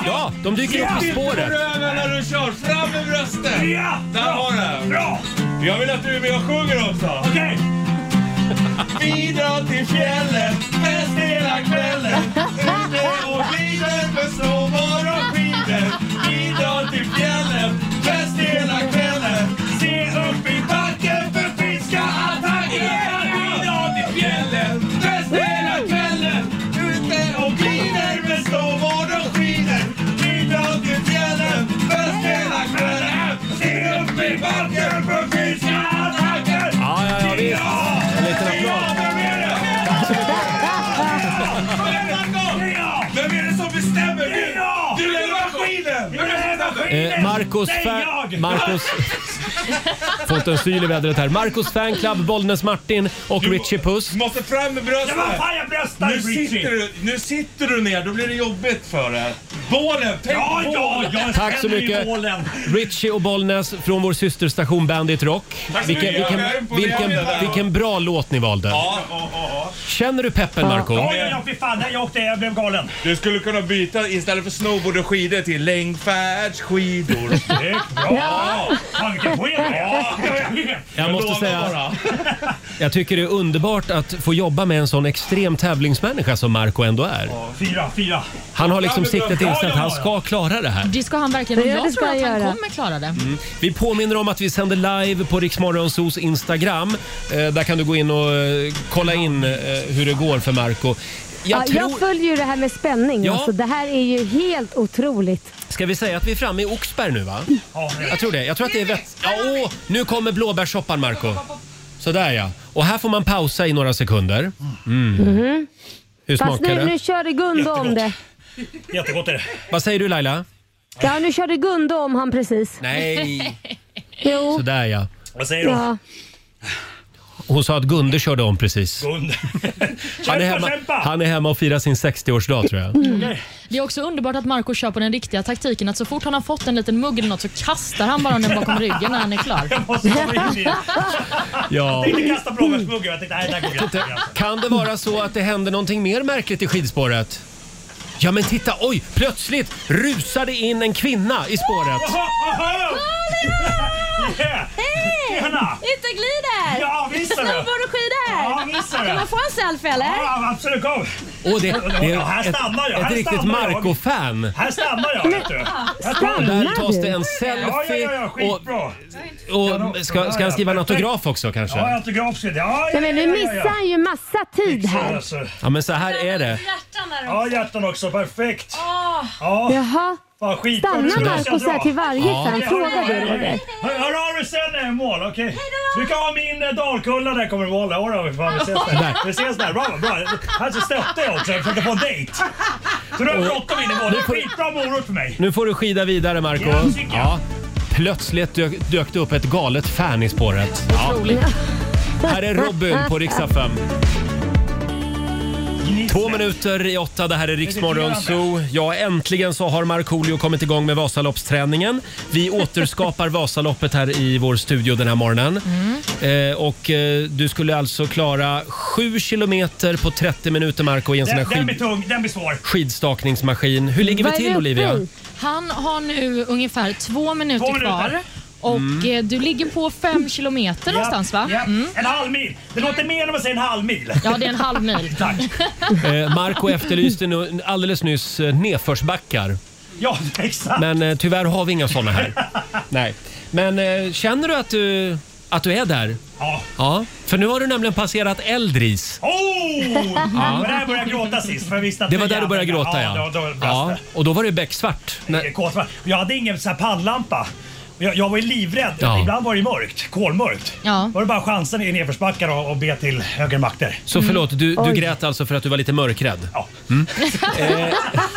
A: ja, de dyker upp i spåret.
I: Röven när du kör, fram med brösten!
G: ja!
I: Där har du
G: Bra!
I: Jag vill att du är med och sjunger också!
G: Okej!
I: Vi drar till fjällen, fest hela kvällen. Ute och glider med snowboard och skidor. Vi drar till fjällen, fest hela kvällen. Se upp i backen för friska attacker. Vi drar till fjällen, fest hela kvällen. Ute och glider med snowboard och skidor. Vi drar till fjällen, fest hela kvällen. Se upp i backen för friska attacker.
A: Ja, ja, ja, visst. En liten
I: Ja,
A: applåd.
I: vem är det? Vem är det som bestämmer? Du- Du vill ha skiten! Du vill ha skiten!
A: Eh, Marcus,
G: Säg
A: Fa-
G: jag!
A: Marcus... Fått en syl i vädret här. Marcus fanclub, Bollnäs Martin och Richie Puss.
I: Du måste fram med
G: Det var fan
I: bröstet!
G: jag bröstar
I: Nu sitter, du, nu sitter du ner, då blir det jobbigt för dig. Bålen, tänk
G: Ja,
I: bålen!
G: ja, jag
A: Tack så
G: känner ju
A: mycket.
G: Målen.
A: Richie och Bollnäs från vår systerstation Bandit Rock.
I: Tack så
A: Vilken,
I: mycket.
A: vilken,
I: Jag är imponerad
A: vilken,
I: redan.
A: vilken bra låt ni valde.
I: Ja, ja, ja.
A: Känner du peppen Marco?
G: Oj, oj, oj, fy fan. Där jag åkte, jag blev galen.
I: Du skulle kunna byta istället för snowboard och skidor till längdfärdsskidor.
G: Snyggt, bra! Fan, vilken poäng. Ja, jag vet.
A: Jag måste
I: lovar
A: säga,
I: bara.
A: jag tycker det är underbart att få jobba med en sån extrem tävlingsmänniska som Marco ändå är.
G: Fyra, fyra.
A: Han har liksom siktet
I: Ja,
A: Så att han ska klara det här.
B: Det ska han verkligen. Och
D: Ja, det
B: jag
D: ska
B: tror
D: han
B: att han
D: göra. Mm.
B: kommer klara det.
A: Vi påminner om att vi sänder live på Riksmorgonsos Instagram. Eh, där kan du gå in och eh, kolla in eh, hur det går för Marco. Jag
D: Jag, ja, jag
A: tror,
D: följer ju det här med spänning.
A: Ja.
D: Alltså, det här är ju helt otroligt.
A: ska vi säga att vi är framme i Oxberg nu va? Jag tror det. Jag tror att det är vett... Ja, åh, nu kommer blåbärssoppan Marco. Sådär ja. Och här får man pausa i några sekunder. Mm. Hur
D: Fast
A: smakar
D: nu, nu
A: det?
D: körde Gunde om det.
G: Jättegott är det.
A: Vad säger du Laila?
D: Ja, nu körde Gunde om han precis.
A: Nej.
D: Jo.
A: Sådär ja.
G: Vad säger du?
D: Ja.
A: Hon sa att Gunde körde om precis.
G: Hund.
A: Han är
G: Kämpa,
A: hemma,
G: kämpa!
A: han är hemma och firar sin 60-årsdag tror jag.
B: Det är också underbart att Marco kör på den riktiga taktiken att så fort han har fått en liten mugg eller något så kastar han bara den bakom ryggen när han är klar.
G: Jag måste komma in i det.
A: Ja.
G: Jag tänkte kasta blåbärsmuggen men jag tänkte nej, det där går inte.
A: Kan det vara så att det händer någonting mer märkligt i skidspåret? Ja men titta, oj! Plötsligt rusade in en kvinna i spåret.
G: Yeah. Tjena!
J: Ut och glid här!
G: Ja, visst är det!
J: Snowboard och skidor!
G: Ja, visst är
J: Kan
G: det!
J: man få en selfie eller?
G: Ja, absolut, kom!
A: Och det, det
G: Ja, här
A: är ett,
G: stannar jag, här
A: ett riktigt
G: stannar jag.
A: Marco-fan.
G: Här stannar jag, vet du. Här stannar
A: Och
G: jag.
A: där tas det en
G: Ja, ja, ja, ja,
A: selfie och,
G: skitbra!
A: och ska, ska han skriva en autograf också
G: Ja,
A: kanske?
G: autograf ska jag. Ja, ja,
D: Nej, men
G: ja,
D: nu
G: ja,
D: missar
G: ja.
D: han ju massa tid
G: Så,
D: här.
G: alltså.
A: Ja men så här är det.
J: Hjärtan där
G: Ja, hjärtan också. Perfekt.
J: Åh,
G: Ja,
D: Jaha.
G: fan skitbra. Nu
D: Ah. Stannar
G: ska jag
D: Marco så här
G: dra.
D: till varje
A: Ja.
D: fan?
G: Ja,
D: Frågar
G: ja,
D: du
G: ja, ja.
D: Roger?
G: Hör, hör av dig sen när jag är i mål, okej? Du kan ha min eh, Dalkulla där kommer i mål. Ja, då, fan, vi ses där. Vi ses där. Bra, bra. Här så stötte jag också. Jag försökte få en dejt. Så nu har jag bråttom in i mål. Det är skitbra morot för mig.
A: Nu får du skida vidare Marco.
G: Ja, tycker jag.
A: Ja. Plötsligt dök, dök det upp ett galet fan i spåret.
B: Otroligt.
A: Här är Robin på riksdag 5. Två minuter i åtta, det här är Riksmorgon Zoo. Ja, äntligen så har Markoolio kommit igång med Vasaloppsträningen. Vi återskapar Vasaloppet här i vår studio den här morgonen. Eh, och eh, du skulle alltså klara 7 kilometer på 30 minuter Marco i en sån här
G: Den, den
A: skid,
G: blir tung, den blir svår.
A: skidstakningsmaskin. Hur ligger vi
D: Vad är
A: till
D: det
A: Olivia?
D: uppe i?
B: Han har nu ungefär två minuter,
G: Två minuter.
B: kvar och
D: Mm.
B: eh, du ligger på fem kilometer någonstans va? Mm.
G: Ja, En halv mil. Det låter mer när man säger en halv mil.
B: Ja, det är en halv mil.
G: Tack.
A: Eh, Marco efterlyste nu, alldeles nyss eh, nedförsbackar.
G: Ja, exakt.
A: Men eh, tyvärr har vi inga såna här. Nej. Men eh, känner du att, du att du är där?
G: Ja.
A: Ja. För nu har du nämligen passerat Eldris.
G: Oh! Ja. Där började jag gråta sist. För jag visste att
A: Det var där du började
G: jävlar-
A: gråta
G: Ja,
A: ja.
G: då, då brast
A: ja
G: det.
A: och då var det becksvart. Nej.
G: Kåt. Jag hade ingen så här pannlampa. Jag, jag var ju livrädd.
A: Ja.
G: Ibland var det ju mörkt, kolmörkt.
B: Ja.
G: Då var det bara chansen i nedförsbackar och, och be till högre makter.
A: Så förlåt, du, du grät alltså för att du var lite mörkrädd?
G: Ja.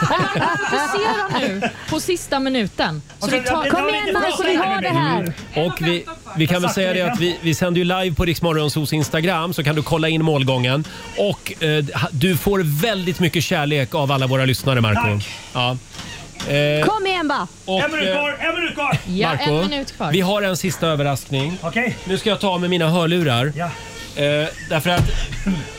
B: Fokusera nu på sista minuten. Så
G: Okej,
B: vi tar...
G: jag-
D: Kom igen Marco, vi har det
A: Mm.
D: här.
A: Och vi, vi kan väl säga det att vi, vi sänder ju live på Riksmorgonsos Instagram så kan du kolla in målgången. Och eh, du får väldigt mycket kärlek av alla våra lyssnare Marco.
G: Tack.
A: Ja. Eh.
D: Kom igen bara.
A: Och, eh,
G: En minut kvar, en minut kvar!
B: Ja,
A: Marco,
B: en minut kvar.
A: vi har en sista överraskning.
G: Okej,
A: Nu ska jag ta av mig mina hörlurar.
G: ja.
A: Eh, därför att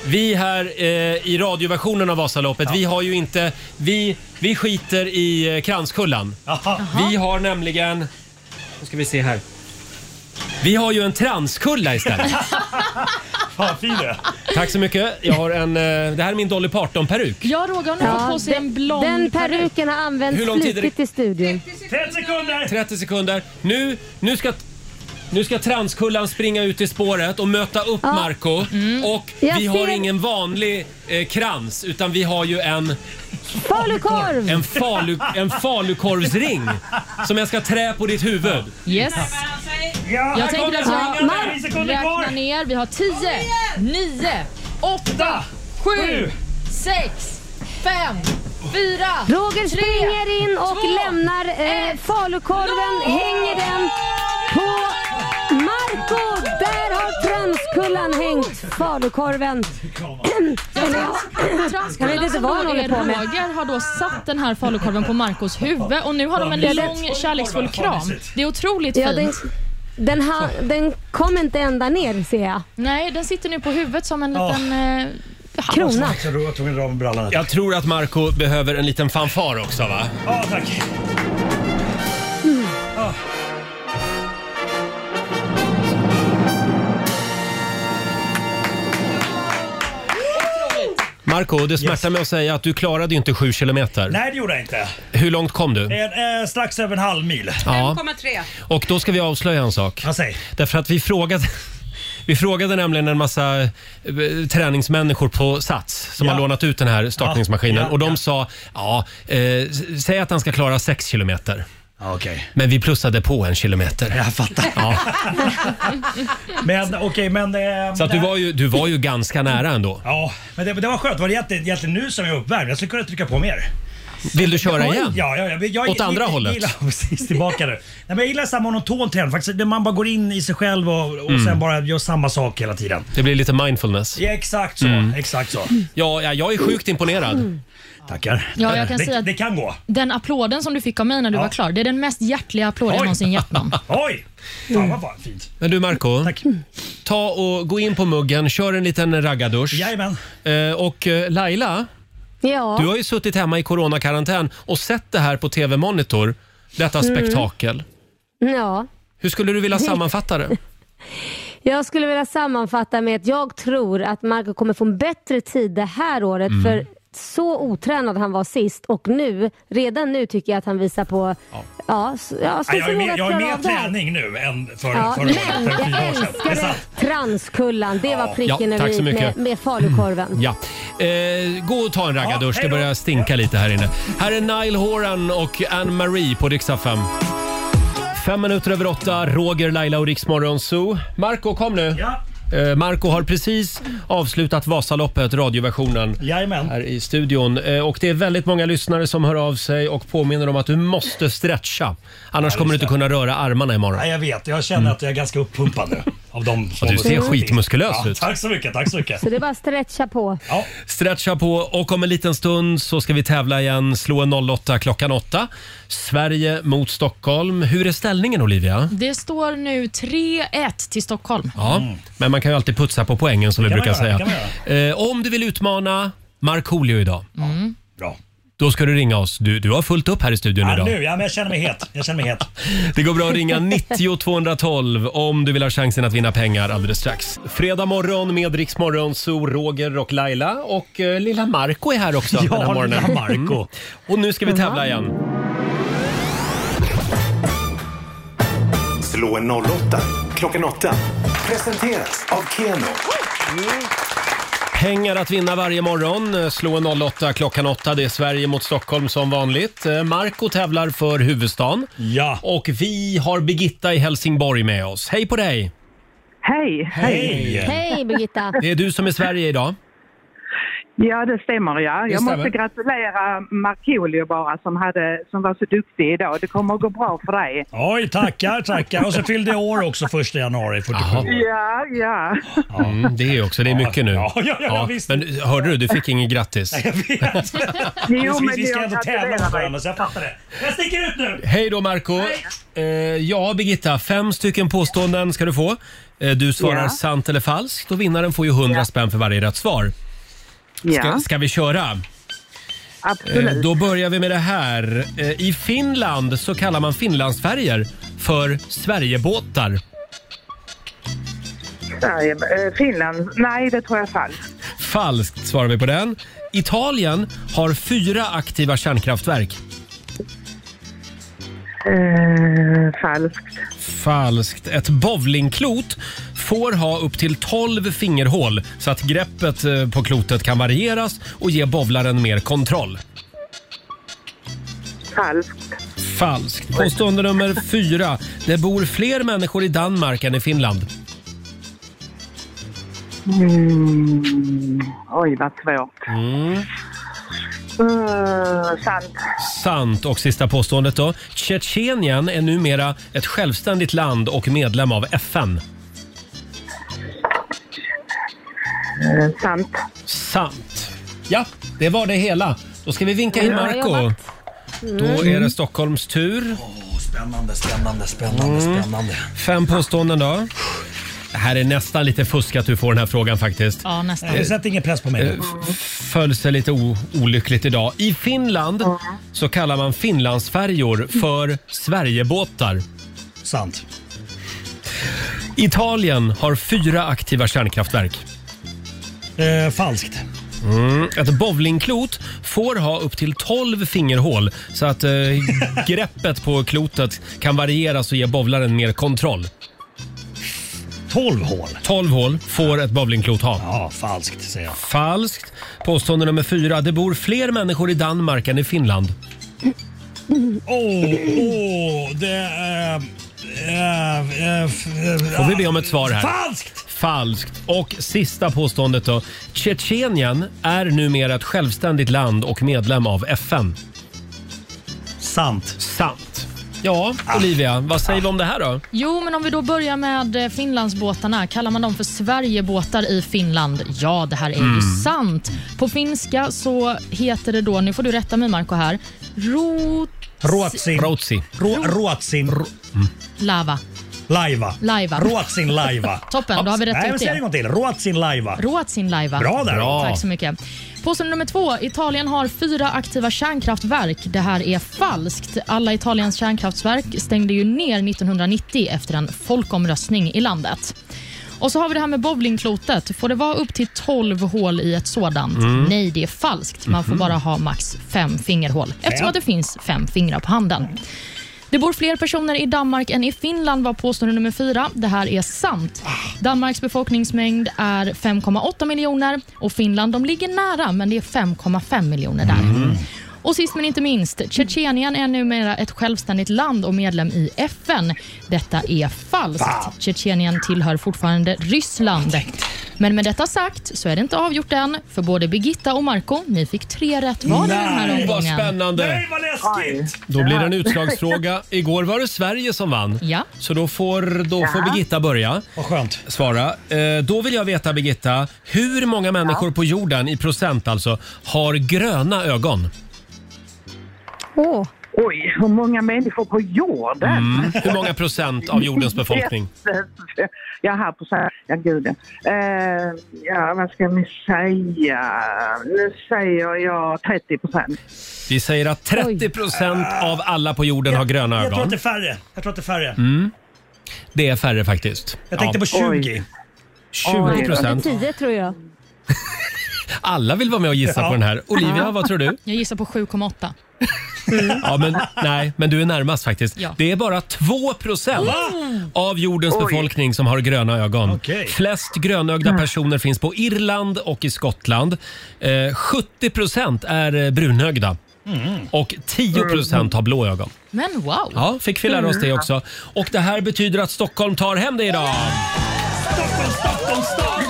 A: vi här eh, i radioversionen av Vasaloppet, vi har ju inte... Vi, vi skiter i eh, kranskullan.
G: Jaha.
A: Vi har nämligen... Nu ska vi se här. Vi har ju en transkulla istället.
G: Fan fin du är.
A: Tack så mycket. Jag har en, eh, det här är min Dolly Parton-peruk.
B: Jag Roger har nu fått på sig en
D: den-
B: blond
D: den
B: peruk.
D: peruken har
A: Hur
D: använts
A: lång tid är det-
D: flitigt i studion.
G: 30 sekunder!
A: 30 sekunder. Nu, nu ska... Nu ska transkullan springa ut i spåret och möta upp Marco. Och
D: Mm. Jag
A: vi har
D: ser-
A: ingen vanlig eh, krans utan vi har ju en...
D: Falukorv!
A: En, falu, en falukorvsring som jag ska trä på ditt huvud.
B: Yes.
G: Ja,
B: Jag tänker att jag-
G: jag... 10 sekunder
B: Räkna
G: kvar!
B: ner. Vi har 10, 9, 8, 7, 6, 5, 4,
D: Roger springer in och lämnar eh, falukorven, hänger den på Marco. Där har transkullan hängt falukorven. Eller ja, Jag vet inte vad han håller på med.
B: Roger har då satt den här falukorven på Marcos huvud och nu har de en lång kärleksfull kram. Det är otroligt
D: Ja, den,
B: fint.
D: den, ha, den kom inte ända ner ser jag.
B: Nej, den sitter nu på huvudet som en liten... eh, hand.
D: Krona.
G: Jag tror jag tog en av med brallan. här.
A: Jag tror att Marco behöver en liten fanfar också va?
G: Ja, tack.
A: Marco, det smärtar mig att säga att du klarade ju inte sju kilometer.
G: Nej, det gjorde jag inte.
A: Hur långt kom du?
G: En, eh, strax över en halv mil.
A: Ja.
H: 5,3.
A: Och då ska vi avslöja en sak.
G: Vad säger?
A: Därför att vi frågade, vi frågade nämligen en massa eh, träningsmänniskor på Sats som
G: Ja.
A: har lånat ut den här startningsmaskinen
G: Ja, ja,
A: och de
G: ja.
A: sa ja, eh, s- säg att han ska klara 6 kilometer.
G: Ja, Okej.
A: Men vi plussade på en kilometer.
G: Jag fattar. men okej, men... Eh,
A: Så att du, var ju, du var ju ganska nära ändå.
G: Ja, men det, det var skönt. Det var egentligen, egentligen nu som jag är uppvärmd. Jag skulle kunna trycka på mer.
A: Vill du köra igen?
G: Ja, ja, jag, jag,
A: Åt andra hållet.
G: Gillar, precis, tillbaka nu. Nej, men jag gillar så här monoton träning. Faktiskt, där man bara går in i sig själv och, och
A: Mm.
G: sen bara gör samma sak hela tiden.
A: Det blir lite mindfulness.
G: Ja, exakt så.
A: Mm.
G: Exakt så.
A: Ja, ja, jag är sjukt imponerad.
G: Mm. Tackar.
B: Ja, jag kan
G: det,
B: säga att-
G: det kan gå.
B: Den applåden som du fick av mig när du
G: Ja.
B: var klar, det är den mest hjärtliga applåd jag
G: Oj.
B: någonsin gett någon.
G: Oj! Fan vad bra. fint.
A: Men du Marco,
G: Tack.
A: ta och gå in på muggen, kör en liten raggardusch.
G: Jajamän.
A: Eh, Och eh, Laila,
D: Ja.
A: Du har ju suttit hemma i coronakarantän och sett det här på tv-monitor. Detta
G: Mm.
A: spektakel.
D: ja.
A: Hur skulle du vilja sammanfatta det?
D: Jag skulle vilja sammanfatta med att jag tror att Marco kommer få en bättre tid det här året
G: Mm.
D: för så otränad han var sist och nu, redan nu tycker jag att han visar på, ja, ja, s- ja
G: Ja,
D: stor
G: jag är
D: förmåga
G: mer,
D: att
G: jag är
D: klara
G: mer
D: av det här.
G: träning nu än för,
D: Ja,
G: förra
D: men
G: året, för fyra
D: jag
G: år sedan. Det är
D: älskade
G: sant.
D: transkullan. Det var pricken
A: Ja,
D: över
A: tack så
D: i med,
A: mycket.
D: med falukorven.
A: Ja. Eh, gå och ta en raggardusch, det
G: Ja, hej då.
A: börjar stinka lite här inne. Här är Nile Horan och Anne-Marie på Dixa 5. Fem minuter över åtta, Roger, Laila och Riksmorgon Zoo. Marco, kom nu!
G: Ja,
A: Eh, Marco har precis avslutat Vasaloppet, radioversionen.
G: jajamän.
A: här i studion. Eh, Och det är väldigt många lyssnare som hör av sig och påminner om att du måste stretcha. Annars kommer du inte kunna röra armarna imorgon.
G: Ja, jag vet, jag känner att jag är ganska uppumpad nu. Av de små
A: Mm. du ser
G: musklerna.
A: skitmuskulös
G: ja,
A: ut.
G: Tack så mycket, tack så mycket.
D: Så det är bara att stretcha på.
G: Ja,
A: Stretcha på och om en liten stund så ska vi tävla igen. Slå en 08 klockan 8. Sverige mot Stockholm. Hur är ställningen Olivia?
B: Det står nu 3-1 till Stockholm.
A: Ja, men man kan ju alltid putsa på poängen som vi
G: Mm. kan man
A: brukar
G: göra,
A: säga. Eh, om du vill utmana Markoolio idag,
G: bra.
A: då ska du ringa oss. Du, du har fullt upp här i studion
G: Ja,
A: idag.
G: nu, ja, men jag känner mig het. Jag känner mig het.
A: Det går bra att ringa 90 212 om du vill ha chansen att vinna pengar alldeles strax. Fredag morgon med Rix Morgon, så Roger och Laila och eh, lilla Marco är här också
G: Ja,
A: den här morgonen.
G: lilla Marco.
A: Mm. Och nu ska vi tävla igen.
C: Slå en 08 klockan 8. Presenteras av Keno.
A: Pengar att vinna varje morgon. Eh, Slå en 08 klockan 8. Det är Sverige mot Stockholm som vanligt. Eh, Marco tävlar för huvudstaden.
G: Ja.
A: Och vi har Birgitta i Helsingborg med oss. Hej på dig!
E: Hej!
G: Hej!
D: Hej Birgitta!
A: Det är du som är Sverige idag.
E: Ja, det stämmer ja. Jag
A: stämmer.
E: måste gratulera Markoolio bara som, hade, som var så duktig idag. Det kommer att gå bra för dig.
G: Oj, tackar, tackar. Och så fyllde jag år också första januari, 47
A: Jaha.
G: år.
E: Ja, ja.
A: Mm, det är också. Det är mycket nu.
G: Ja, ja, ja, visst.
A: men hörde du, du fick ingen grattis.
G: Jag vet.
E: Jo,
G: vi, vi ska
E: jag
G: ändå tävla mot
E: gratulerar dig.
G: varandra, så jag fattar det. Jag sticker ut nu!
A: Hej då Marco Eh, ja, Birgitta. Fem stycken påståenden ska du få. Eh, du svarar
E: Ja.
A: sant eller falskt och vinnaren får ju 100 spänn för varje rätt svar. Ska,
E: Ja,
A: ska vi köra? Eh,
E: absolut.
A: då börjar vi med det här. Eh, I Finland så kallar man finlandsfärjor för Sverigebåtar.
E: Sverige, eh, Finland. Nej, det tror jag är falskt.
A: Falskt svarar vi på den. Italien har fyra aktiva kärnkraftverk.
E: Eh, falskt.
A: Falskt. Ett bowlingklot får ha upp till 12 fingerhål så att greppet eh, på klotet kan varieras och ge bowlaren mer kontroll.
E: Falskt.
A: Falskt. Påstående nummer fyra. Det bor fler människor i Danmark än i Finland.
E: Mm. Oj, vad svårt. Eh, sant.
A: Sant. Och sista påståendet då. Tjetjenien är numera ett självständigt land och medlem av FN.
E: Eh, sant.
A: Sant. Ja, det var det hela. Då ska vi vinka in
D: Bra
A: Marco.
D: jobbat.
A: Då är det Stockholms tur.
G: Åh, spännande, spännande, spännande,
A: Mm.
G: spännande.
A: Fem påståenden då. Det här är nästan lite fusk att du får den här frågan faktiskt.
B: Ja, nästan.
G: Jag sätter ingen press på
A: Eh.
G: mig.
A: Föll sig lite o- olyckligt idag. I Finland så kallar man Finlandsfärjor för Sverigebåtar.
G: Sant.
A: Italien har fyra aktiva kärnkraftverk.
G: Eh, falskt.
A: Mm. Ett bowlingklot får ha upp till 12 fingerhål så att eh, greppet på klotet kan varieras och ge bowlaren mer kontroll.
G: 12 hål.
A: 12 hål får ett bowlingklot ha.
G: Ja, falskt säger jag.
A: Falskt. Påstående nummer fyra. Det bor fler människor i Danmark än i Finland.
G: Åh, åh, det är... Äh,
A: Får vi be om ett svar här?
G: ah, Falskt!
A: Falskt. Och sista påståendet då. Tjetjenien är numera ett självständigt land och medlem av FN.
G: Sant.
A: Sant. Ja, Olivia, vad säger vi om det här då?
B: Jo, men om vi då börjar med eh, Finlandsbåtarna. Kallar man dem för Sverigebåtar i Finland? Ja, det här är
G: Mm.
B: ju sant. På finska så heter det då, nu får du rätta mig Marco här, Rotlava.
G: Ruotsin.
A: Routsi.
G: Ro- Ruotsin laiva.
B: Laiva.
G: Ruotsin laiva.
B: Toppen, då har vi rätt
G: Nej,
B: ut
G: men säg
B: det.
G: det en gång till. Ruotsin laiva.
B: Ruotsinlaiva.
G: Bra där.
A: Bra.
B: Tack så mycket. Påstående nummer två. Italien har fyra aktiva kärnkraftverk. Det här är falskt. Alla Italiens kärnkraftverk stängde ju ner 1990 efter en folkomröstning i landet. Och så har vi det här med bowlingklotet. Får det vara upp till 12 hål i ett sådant? Nej, det är falskt. Man får bara ha max fem fingerhål eftersom att det finns fem fingrar på handen. Det bor fler personer i Danmark än i Finland var påstående nummer fyra. Det här är sant. Danmarks befolkningsmängd är 5,8 miljoner och Finland de ligger nära, men det är 5,5 miljoner där. Och sist men inte minst, Tjetjenien är numera ett självständigt land och medlem i FN. Detta är falskt. Tjetjenien tillhör fortfarande Ryssland. Men med detta sagt så är det inte avgjort än, för både Birgitta och Marco, ni fick tre rätt var i den här
G: Nej,
A: Vad
B: omgången.
A: spännande!
G: Nej, vad läskigt!
A: Då blir det en utslagsfråga. Igår var det Sverige som vann.
B: Ja.
A: Så då får, då får Birgitta börja
G: Vad skönt.
A: svara. Eh, då vill jag veta, Birgitta, hur många människor på jorden, i procent alltså, har gröna ögon?
D: Åh,
E: Oj, hur många människor på jorden?
A: Hur många procent av Mm, jordens befolkning?
E: Jag här på så här, ja gud. Eh, ja, vad ska ni säga? Nu säger jag 30 procent.
A: Vi säger att 30 procent av alla på jorden har gröna
G: Jag tror att
A: ögon.
G: det är färre. Jag tror att det är färre.
A: Mm. Det är färre faktiskt.
G: Jag tänkte på 20.
E: Oj.
A: 20
D: under
A: procent.
D: 10 tror jag.
A: Alla vill vara med och gissa
G: Ja.
A: på den här. Olivia, vad tror du?
B: Jag gissar på 7,8.
A: Ja, men, nej, men du är närmast faktiskt.
B: Ja.
A: Det är bara 2 procent av jordens befolkning som har gröna ögon.
G: Okej.
A: Flest grönögda personer finns på Irland och i Skottland. Eh, 70 procent är eh, brunögda. Och 10 procent har blå ögon.
B: Men wow!
A: Ja, fick vi lära oss det också. Och det här betyder att Stockholm tar hem det idag.
G: Stockholm, Stockholm, Stockholm!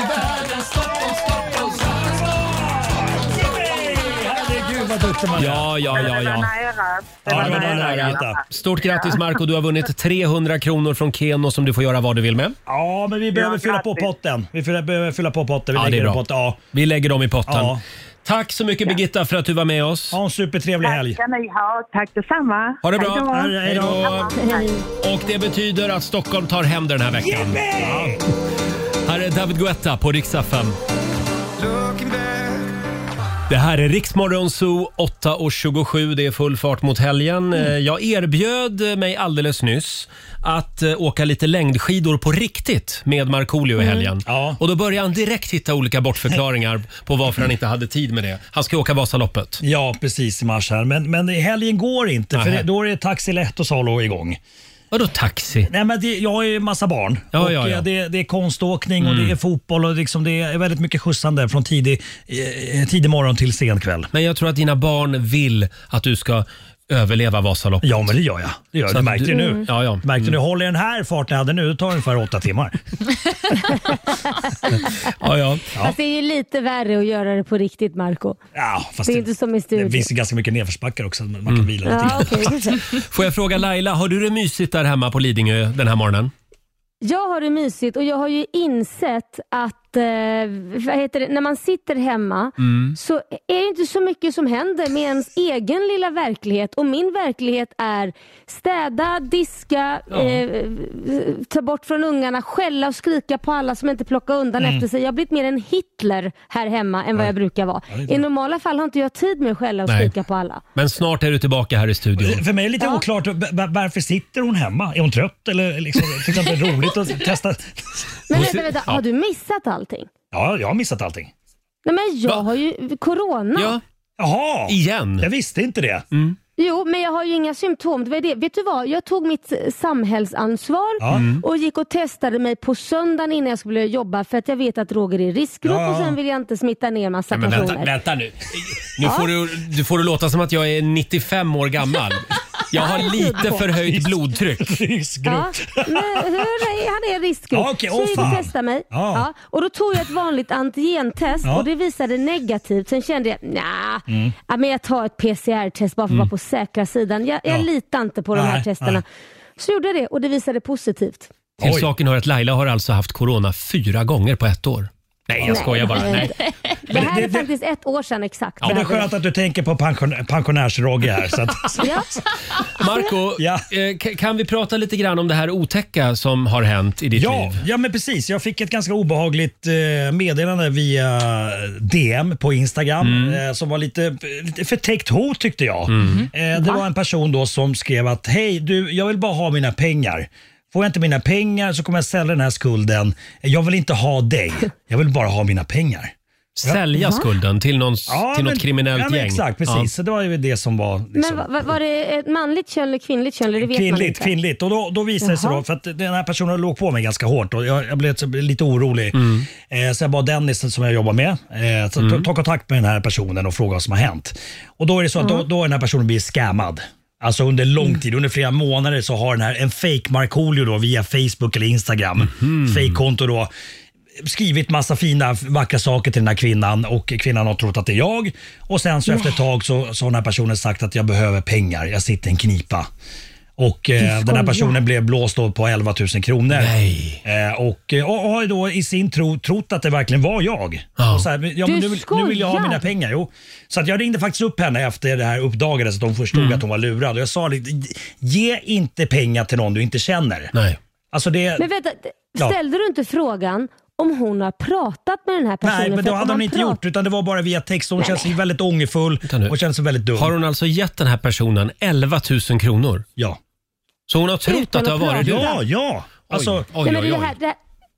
G: Nej, Herregud vad duktig man är.
A: Ja, ja, ja,
E: Det var
A: ja.
E: nära.
G: Ja, det var
A: nära,
G: nära,
A: nära.
G: Birgitta.
A: Stort grattis Marco, du har vunnit 300 kronor från Keno som du får göra vad du vill med.
G: Ja, men vi behöver
E: Ja,
G: fylla på
E: grattis.
G: potten. Vi fyller, behöver fylla på potten. Vi
A: Ja, det är
G: lägger
A: bra.
G: potten. Ja.
A: Vi lägger dem i potten.
G: Ja.
A: Tack så mycket Birgitta för att du var med oss.
G: Ha en supertrevlig helg.
E: Tack ska ni ha. Tack detsamma.
A: Ha det
E: Hej då.
A: bra.
G: Hej då.
A: Och det betyder att Stockholm tar hem den här veckan. Ja. Här är David Guetta på riksdag 5. Det här är Riksmorgon Zoo 8.27. Det är full fart mot helgen.
G: Mm.
A: Eh, Jag erbjöd mig alldeles nyss att eh, åka lite längdskidor på riktigt med Markoolio i helgen.
G: Mm. Ja.
A: Och då började han direkt hitta olika bortförklaringar på varför han inte hade tid med det. Han ska ju åka Vasaloppet.
G: Ja, precis i mars här. Men, men i helgen går inte för
A: Nej.
G: det- då är det Taxi Lätt och Salo igång.
A: Vadå taxi?
G: Nej, men det, jag har ju massa barn
A: Ja, ja,
G: och
A: ja. Mm.
G: eh, Det, det är konståkning och det är fotboll och liksom det är väldigt mycket skjutsande från tidig, eh, tidig morgon till sen kväll.
A: Men jag tror att dina barn vill att du ska överleva Vasaloppet.
G: Ja, men det gör jag. Det, gör jag. det
A: att Mm.
G: märkte du nu.
A: Ja, ja.
G: Du Märkte du, håller jag den här farten jag hade nu, det tar ungefär åtta timmar.
A: ja, ja.
D: Fast det är ju lite värre att göra det på riktigt, Marco.
G: Ja, fast
D: Det är inte som i studion.
G: Det finns ju ganska mycket nedförsbackar också, men
A: Mm.
G: man kan vila lite
D: Ja,
G: grann.
D: okej. det är så.
A: Får jag fråga Laila, har du det mysigt där hemma på Lidingö den här morgonen?
D: Jag har det mysigt och jag har ju insett att eh, vad heter det? när man sitter hemma
A: Mm.
D: så är det inte så mycket som händer med ens egen lilla verklighet. Och min verklighet är städa, diska, eh, ta bort från ungarna, skälla och skrika på alla som inte plockar undan
A: Mm.
D: efter sig. Jag har blivit mer en Hitler här hemma än vad jag brukar vara. I normala fall har inte jag tid med att skälla och
A: Nej.
D: skrika på alla.
A: Men snart är du tillbaka här i studion.
G: För mig är det lite oklart, b- b- varför sitter hon hemma? Är hon trött eller liksom, tycker hon att det är roligt att testa?
A: Hon
D: Men vänta,
A: ser-
D: vänta,
A: ja.
D: har du missat allting?
G: Ja, jag har missat allting.
D: Nej, men jag
A: Va?
D: har ju corona.
A: Ja,
G: Jaha,
A: igen. Mm.
G: jag visste inte det.
D: Jo, men jag har ju inga symptom. Det var det. Vet du vad? Jag tog mitt eh, samhällsansvar
G: Ja. Mm.
D: och gick och testade mig på söndagen innan jag skulle börja jobba för att jag vet att Roger är i riskgrupp
G: Ja.
D: och sen vill jag inte smitta ner massa
A: Nej, men
D: personer.
A: vänta, vänta nu. Nu får du, du får det låta som att jag är 95 år gammal. Jag har lite förhöjt blodtryck.
D: Ja,
G: Riskgrupp.
D: men hur är, han är i riskgrupp.
G: Ja, okej,
D: så
G: åh,
D: jag gick
G: fan.
D: och testade mig.
G: Ja.
D: Ja. och då tog jag ett vanligt antigentest
G: Ja. Mm.
D: och det visade negativt. Sen kände jag, nja, ja, men jag tar ett PCR-test bara för att vara på säkra sidan. Jag, jag
G: Ja.
D: litar inte på de
G: Nej,
D: här testerna.
G: nej.
D: Så gjorde jag det och det visade positivt.
A: Till
G: Oj.
A: saken hör att Laila har alltså haft corona fyra gånger på ett år. Nej, jag skojar bara. Nej.
D: Det här
G: det-
D: är
G: det-
D: faktiskt ett år sedan exakt.
G: Men det är
D: Det här.
G: skönt att du tänker på pension, pensionärs-Rogge här. Så att,
D: Ja.
A: Marco,
G: Ja.
A: eh, k- kan vi prata lite grann om det här otäcka som har hänt i ditt
G: Ja,
A: liv?
G: ja men precis. Jag fick ett ganska obehagligt eh, meddelande via DM på Instagram
A: Mm.
G: eh, som var lite, lite förtäckt hot tyckte jag.
D: Mm.
G: Eh, det var en person då som skrev att hej du, jag vill bara ha mina pengar. Får jag inte mina pengar så kommer jag sälja den här skulden. Jag vill inte ha dig. Jag vill bara ha mina pengar.
A: Sälja skulden till, någon, till något
G: men-
A: kriminellt
G: ja, men
A: gäng?
G: Exakt, precis. Så det var ju det som var... Liksom,
D: Men va- va- var det ett manligt kön eller kvinnligt kön? Eller det vet man
G: Kvinnligt,
D: inte.
G: kvinnligt. Och då, då visade det sig
D: Jaha.
G: då, för att den här personen låg på mig ganska hårt och jag, jag blev så- lite orolig. Eh, så jag bad Dennis som jag jobbar med, eh, så ta, ta kontakt med den här personen och fråga vad som har hänt. Och då är det så att då, då är den här personen blivit scammad. Alltså under lång tid, under flera månader så har den här, en fake Markoolio då via Facebook eller Instagram, fake-konto då, skrivit massa fina vackra saker till den här kvinnan och kvinnan har trott att det är jag. Och sen så efter ett tag så, så har den här personen sagt att jag behöver pengar, jag sitter i en knipa. Och eh, den här
D: skojar.
G: personen blev blåst då på 11 000 kronor.
A: Nej.
G: Eh, och, eh, och har då i sin tro trott att det verkligen var jag.
A: Ja.
G: Och så här, men- ja, men
D: Du
G: nu, vill- nu vill jag ha
D: skojar.
G: mina pengar. Jo. Så att jag ringde faktiskt upp henne efter det här uppdagades att hon förstod
A: Mm.
G: att hon var lurad. Och jag sa lite, ge inte pengar till någon du inte känner.
A: Nej.
G: Alltså det,
D: Men vänta,
G: Ja.
D: ställde du inte frågan om hon har pratat med den här personen?
G: nej, men
D: För
G: då
D: att om
G: hade hon
D: man
G: inte
D: pratar-
G: gjort utan det var bara via text. Hon kände sig väldigt ångerfull
A: nu.
G: och kände sig väldigt dum.
A: Har hon alltså gett den här personen 11 000 kronor?
G: Ja.
A: Så hon har trott
D: Utan
A: att det har
D: att
A: varit du?
D: prata.
G: ja, ja. Alltså,
A: oj, oj,
D: Nej, men
A: oj,
D: det, är
A: oj.
D: det, här, det, här-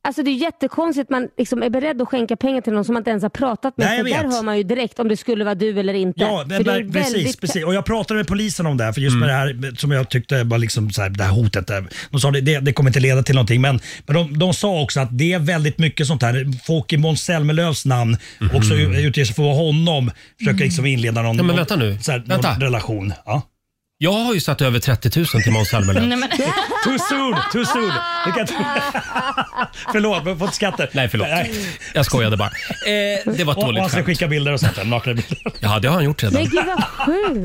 D: alltså det är jättekonstigt att man liksom är beredd att skänka pengar till någon som man inte ens har pratat med.
G: Nej, jag
D: för där
G: vet.
D: hör man ju direkt om det skulle vara du eller inte.
G: Ja,
D: För
G: men,
D: det är
G: men, precis,
D: väldigt-
G: precis. Och jag pratade med polisen om det här, för just med det
A: Mm.
G: här som jag tyckte var liksom så här, det här hotet. där. De sa det, det, det kommer inte leda till någonting, men, men de, de sa också att det är väldigt mycket sånt här. Folk i Måns Zelmerlöws namn också utger sig för att vara honom, försöker liksom inleda någon,
A: Mhm. Mm. Ja, men
G: någon-
A: vänta nu.
G: Så här,
A: Vänta.
G: någon relation. Ja.
A: Jag har ju satt över 30 000 till Måns Zelmerlöw.
B: Nej, men,
G: Too soon, too soon. Du kan inte... förlåt, men jag får inte skratta.
A: Nej, förlåt. Jag skojade bara. Eh, det var ett
G: Och, och han
A: dåligt
G: ska
A: skämt.
G: skicka bilder och sånt där, nakna bilder.
A: Ja, det har han gjort
D: Men
A: redan.
D: gud vad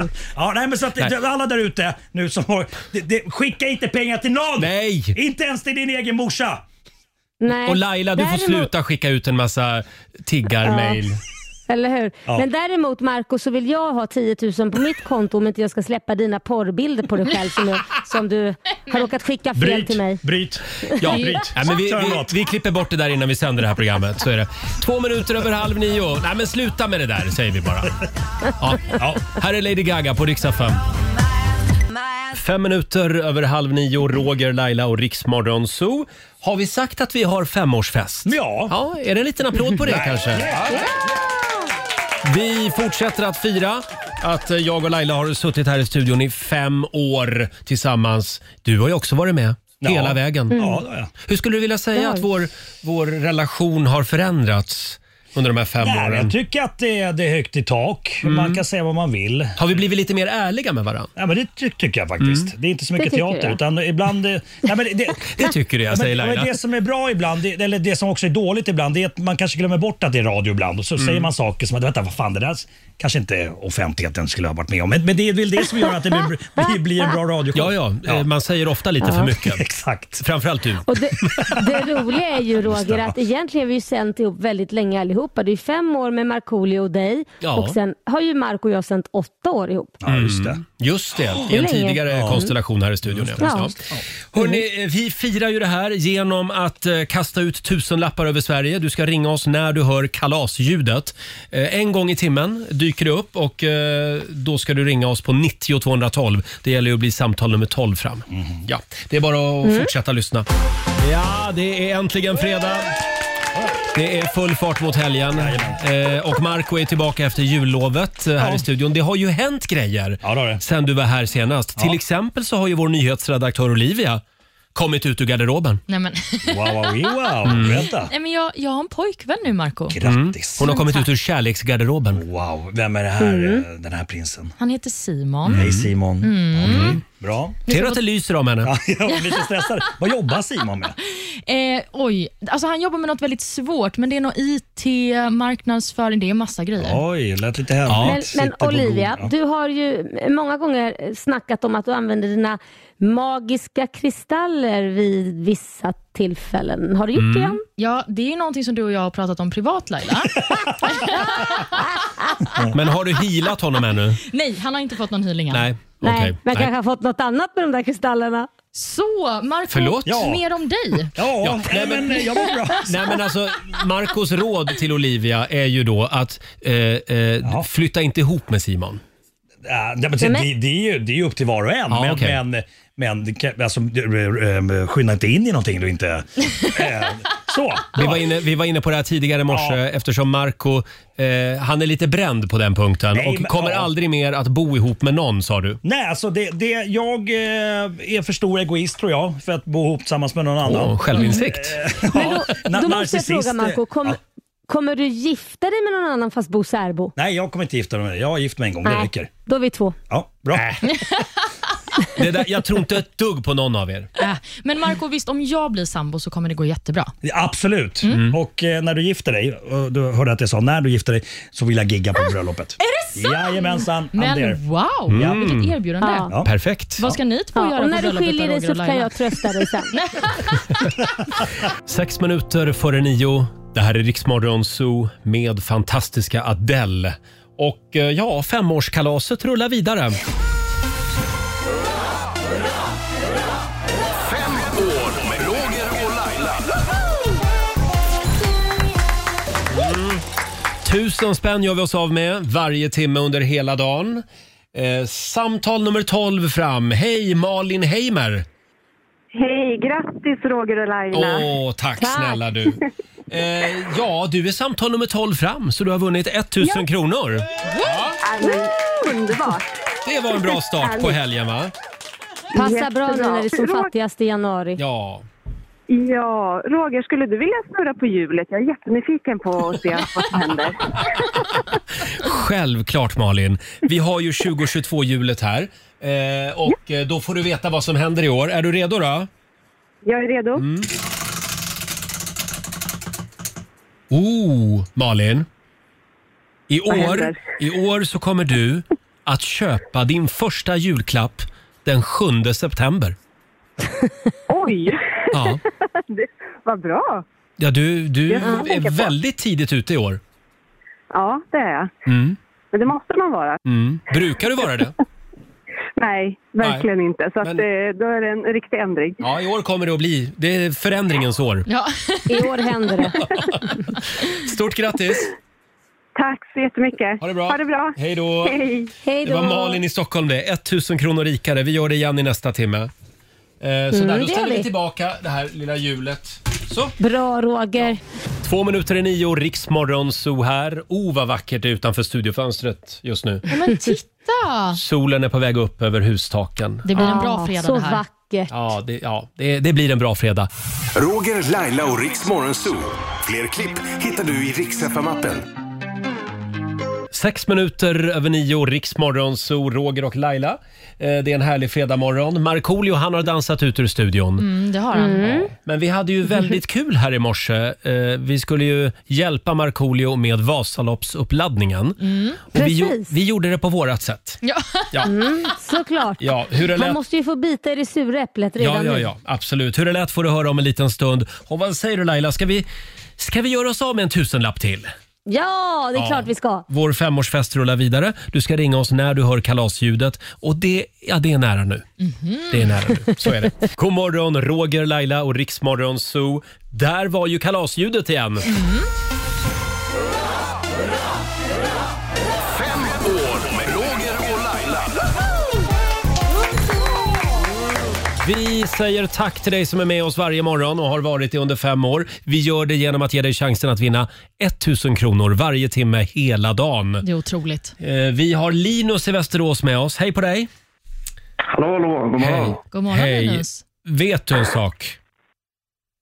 D: sjukt.
G: Ja, nej, men så att
A: Nej.
G: alla där ute nu som har... Det, det, skicka inte pengar till någon!
A: Nej!
G: Inte ens till din egen morsa!
D: Nej.
A: Och Laila, du får
D: Däremot-
A: sluta skicka ut en massa tiggarmail.
D: Eller hur?
G: Ja.
D: Men däremot Marco så vill jag ha 10 000 på mitt konto om inte jag ska släppa dina porrbilder på dig själv som, jag, som du har råkat skicka fel till mig.
G: Bryt!
A: Ja,
G: Bryt.
A: Nej, men vi,
G: Kör en
A: vi,
G: låt.
A: vi klipper bort det där innan vi sänder det här programmet. Så är det. Två minuter över halv nio. Nej, men sluta med det där, säger vi bara. Ja. Ja. Här är Lady Gaga på riksdag 5. Fem minuter över halv nio, Roger, Laila och Riksmorgon Zoo. Har vi sagt att vi har femårsfest?
G: Ja.
A: ja är det en liten applåd på det kanske? Vi fortsätter att fira att eh, jag och Laila har suttit här i studion i fem år tillsammans. Du har ju också varit med hela vägen.
G: Ja, det har jag.
A: Hur skulle du vilja säga
D: Ja.
A: att vår, vår relation har förändrats under de här fem
G: Nej, men
A: åren?
G: jag tycker att det, är- det är högt i tak.
A: Mm.
G: Man kan säga vad man vill.
A: Har vi blivit lite mer ärliga med varandra?
G: Ja, men det ty tycker jag faktiskt.
A: Mm.
G: Det är inte så mycket
D: tycker
G: teater.
D: jag.
G: Utan ibland, eh, nej, men det,
A: Det tycker jag,
G: men-
A: säger
G: men
A: Laila.
G: det som är bra ibland, det- eller det som också är dåligt ibland, det är att man kanske glömmer bort att det är radio ibland. Och så
A: Mm.
G: säger man saker som att vänta, vad fan det där kanske inte offentligheten skulle ha varit med om. Men, men det är väl det som gör att det blir, blir en bra radioshow.
A: Ja, ja, eh, man säger ofta lite för mycket.
G: Exakt.
A: Framförallt du.
D: Och det, det roliga är ju Roger att egentligen har vi ju sänt ihop väldigt länge allihopa. Det är ju fem år med Markoolio och dig
A: Ja.
D: och sen har ju Marco och jag sänt åtta år ihop.
G: Ja, just
A: Mm.
G: det.
A: Just det, i en
D: länge. Mm.
A: tidigare konstellation här i studion. Ja. Ja.
D: Ja. Mm.
A: Hörrni, eh, vi firar ju det här genom att eh, kasta ut tusenlappar över Sverige. Du ska ringa oss när du hör kalasljudet. Eh, en gång i timmen dyker det upp och eh, då ska du ringa oss på 90 212. Det gäller ju att bli samtal nummer 12 fram. Ja, det är bara att fortsätta lyssna. Ja, det är äntligen fredag. Det är full fart mot helgen. Eh, och Marco är tillbaka efter jullovet eh, här i studion. Det har ju hänt grejer
G: Ja, det har det.
A: sen du var här senast. Till exempel så har ju vår nyhetsredaktör Olivia kommit ut ur garderoben.
B: Nej, men,
G: Wow, wow, wow.
A: Mm.
G: Berätta.
B: nej, men jag, jag har en pojkvän nu, Marco.
G: Grattis.
A: Hon har Mm. kommit ut ur kärleksgarderoben.
G: Wow, vem är det här, eh, den här prinsen?
B: Han heter Simon.
A: Mm.
G: Hej Simon. Okej, Bra.
A: Ser du att det lyser om henne?
G: Ja, jag var lite stressad. Vad jobbar Simon med?
A: Mm.
B: Eh, oj, alltså han jobbar med något väldigt svårt, men det är nog IT, marknadsföring, det är massa grejer.
G: Oj, lät lite hemligt.
D: Men, men
G: Sitter på
D: Olivia,
G: Google.
D: du har ju många gånger snackat om att du använder dina magiska kristaller vid vissa tillfällen. Har du gjort
G: Mm.
D: det än?
B: Ja, det är någonting som du och jag har pratat om privat Laila.
A: Men har du healat honom ännu?
B: Nej, han har inte fått någon healing än.
A: Nej.
D: Nej,
A: Okej.
D: men
A: Nej.
D: kanske har fått något annat med de där kristallerna.
B: Så, Marco,
A: Förlåt?
G: Ja.
B: mer om dig.
G: Ja,
A: Ja,
G: nej,
A: nej,
G: men eh, jag mår bra.
A: Nej men alltså, Marcos råd till Olivia är ju då att eh, eh, flytta inte ihop med Simon.
G: Ja, nej, men det, det, det, är ju, det är ju upp till var och en.
A: Ja,
G: men
A: okej.
G: men, men det kan- alltså, eh, eh, skynda inte in i någonting du inte... eh, Så.
A: Vi var, inne, vi var inne på det här tidigare i morse
G: Ja.
A: eftersom Marco eh, han är lite bränd på den punkten
G: Nej,
A: och
G: men-
A: kommer
G: ja.
A: aldrig mer att bo ihop med någon sa du.
G: Nej, alltså det, det, jag eh, är för stor egoist tror jag för att bo ihop tillsammans med någon annan.
A: Åh, självinsikt.
D: Men då,
G: na-
D: då måste jag
G: narcissist, eh,
D: fråga
A: eh,
D: Marco, kom,
G: ja.
D: kommer du gifta dig med någon annan fast bo särbo?
G: Nej, jag kommer inte gifta mig med dig. Jag har gift mig en gång, det räcker.
D: då är vi två.
G: Ja, bra.
A: Det där, jag tror inte ett dugg på någon av er.
B: Äh, men Marco,
D: Mm.
B: visst om jag blir sambo så kommer det gå jättebra.
G: Absolut.
A: Mm.
G: Och eh, när du gifter dig, och du hörde att jag sa när du gifter dig, så vill jag gigga
A: Ah,
G: på bröllopet. Är det sant? Jajamensan, I'm there.
B: Men wow, vilket erbjudande.
D: Ja.
G: Ja.
A: Perfekt.
B: Vad ska ni två
D: Ja,
B: göra
D: och
B: på
D: när du
B: bröllopet
D: skiljer
B: där,
D: dig
B: Roger
D: så
B: och
D: kan
B: Laila?
D: jag trösta dig sen.
A: Sex minuter före nio. Det här är Riksmorgon Zoo med fantastiska Adele. Och eh, ja, femårskalaset rullar vidare.
F: År med Roger och Laila.
A: Mm. Tusen spänn gör vi oss av med varje timme under hela dagen. Eh, samtal nummer 12 fram. Hej Malin Heimer!
E: Hej, grattis Roger och Laila.
A: Åh, tack, snälla du. Eh, ja, du är samtal nummer 12 fram så du har vunnit 1000 kronor.
E: Underbart.
A: Det var en bra start på helgen va?
D: Passa bra nu
E: Jättebra.
D: när det är som
E: Roger-
D: fattigast i januari.
A: Ja.
E: Ja, Roger, skulle du vilja snurra på hjulet? Jag är jättenyfiken på att se vad som händer.
A: Självklart Malin. Vi har ju 2022-hjulet här. Eh, och eh, då får du veta vad som händer i år. Är du redo då?
E: Jag är redo.
A: Oh, Malin. I år,
E: händer?
A: I år så kommer du att köpa din första julklapp den 7 september.
E: Oj,
A: Ja,
E: vad bra.
A: ja du, du
E: Det får man tänka
A: är
E: på.
A: väldigt tidigt ute i år.
E: Ja, det är jag. Men det måste man vara.
A: Mm. Brukar du vara det?
E: Nej, verkligen inte. Så att,
A: Men-
E: eh, då är det en riktig ändring.
A: Ja, i år kommer det att bli. Det är förändringens år.
B: Ja.
D: I år händer det.
A: Stort grattis!
E: Tack så jättemycket.
A: Ha det bra!
E: Ha det bra.
A: Hej då!
E: Hej.
D: Hej
A: Det
D: då.
A: var Malin i Stockholm det. 1000 kronor rikare. Vi gör det igen i nästa timme. Eh, så där, då
D: det
A: ställer
D: gör
A: vi
D: vi.
A: tillbaka det här lilla hjulet. Så!
D: Bra Roger.
A: Två minuter i nio, Riksmorgon Zoo här. O, vad vackert det är utanför studiofönstret just nu.
B: Men titta!
A: Solen är på väg upp över hustaken.
B: Det blir en bra fredag
D: Så
B: det här.
D: vackert.
A: Ja, det, ja det, det blir en bra fredag.
F: Roger, Laila och Riks Morgonzoo. Fler klipp hittar du i Riks FM-appen.
A: Sex minuter över nio, Riksmorgon Zoo, Roger och Laila. Eh, det är en härlig fredagmorgon. Markoolio, han har dansat ut ur studion.
B: Mm, det har han.
A: Men vi hade ju väldigt kul här i morse. Eh, vi skulle ju hjälpa Markoolio med Vasaloppsuppladdningen. Och vi, gjo-
D: Mm. Precis.
A: vi gjorde det på vårat sätt.
B: Ja.
A: Ja,
D: Mm, Såklart.
A: ja hur det
D: Man
A: lät
D: måste ju få bita i det sura äpplet
A: Ja,
D: redan
A: ja,
D: nu.
A: ja, absolut. Hur det lät får du höra om en liten stund. Och vad säger du Laila, ska vi, ska vi göra oss av med en tusenlapp till?
D: Ja, det är klart vi ska.
A: Vår femårsfest rullar vidare. Du ska ringa oss när du hör kalasljudet. Och det, ja, det är nära nu.
B: Mhm.
A: Det är nära nu, så är det. God morgon Roger, Laila och Riksmorgon Zoo. Där var ju kalasljudet igen.
F: År med Roger och Laila.
A: Vi säger tack till dig som är med oss varje morgon och har varit det under fem år. Vi gör det genom att ge dig chansen att vinna 1000 kronor varje timme hela dagen.
B: Det är otroligt.
A: Eh, Vi har Linus i Västerås med oss. Hej på dig!
J: Hallå, hallå, god morgon.
B: God morgon, Linus.
A: Vet du en sak?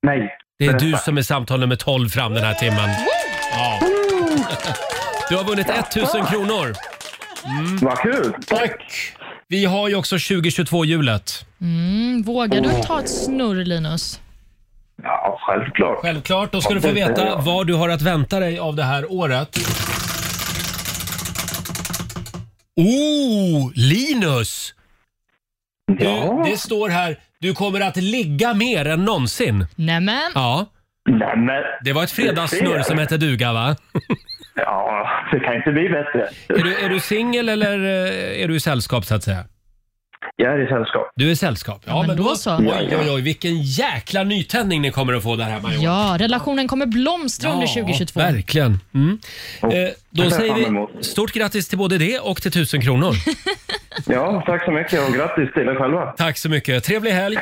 J: Nej.
A: Det är du som är samtal nummer 12 fram den här timmen. Ja. Du har vunnit 1000 kronor. Mm.
J: Vad kul!
A: Tack! Vi har ju också 2022-hjulet.
B: Mm, vågar du ta ett snurr, Linus?
J: Ja, självklart.
A: Självklart. Då ska du få veta vad du har att vänta dig av det här året. Oh, Linus! Du, Det står här, du kommer att ligga mer än någonsin.
B: Nämen.
A: Ja.
J: Nämen.
A: Det var ett fredagssnurr som hette duga, va?
J: Ja, det kan inte bli bättre.
A: Är du, är du singel eller eh, är du i sällskap, så att säga?
J: Jag är i sällskap.
A: Du är i sällskap? Ja, men, då så. Oj, oj, oj, vilken jäkla nytändning ni kommer att få där hemma i år.
B: Ja, relationen kommer blomstra under 2022.
A: Verkligen. Mm. Eh, då
J: det ser jag
A: säger
J: fram
A: vi
J: emot.
A: stort grattis till både det och till 1000 kronor.
J: Ja, tack så mycket och grattis till er själva.
A: Tack så mycket. Trevlig helg.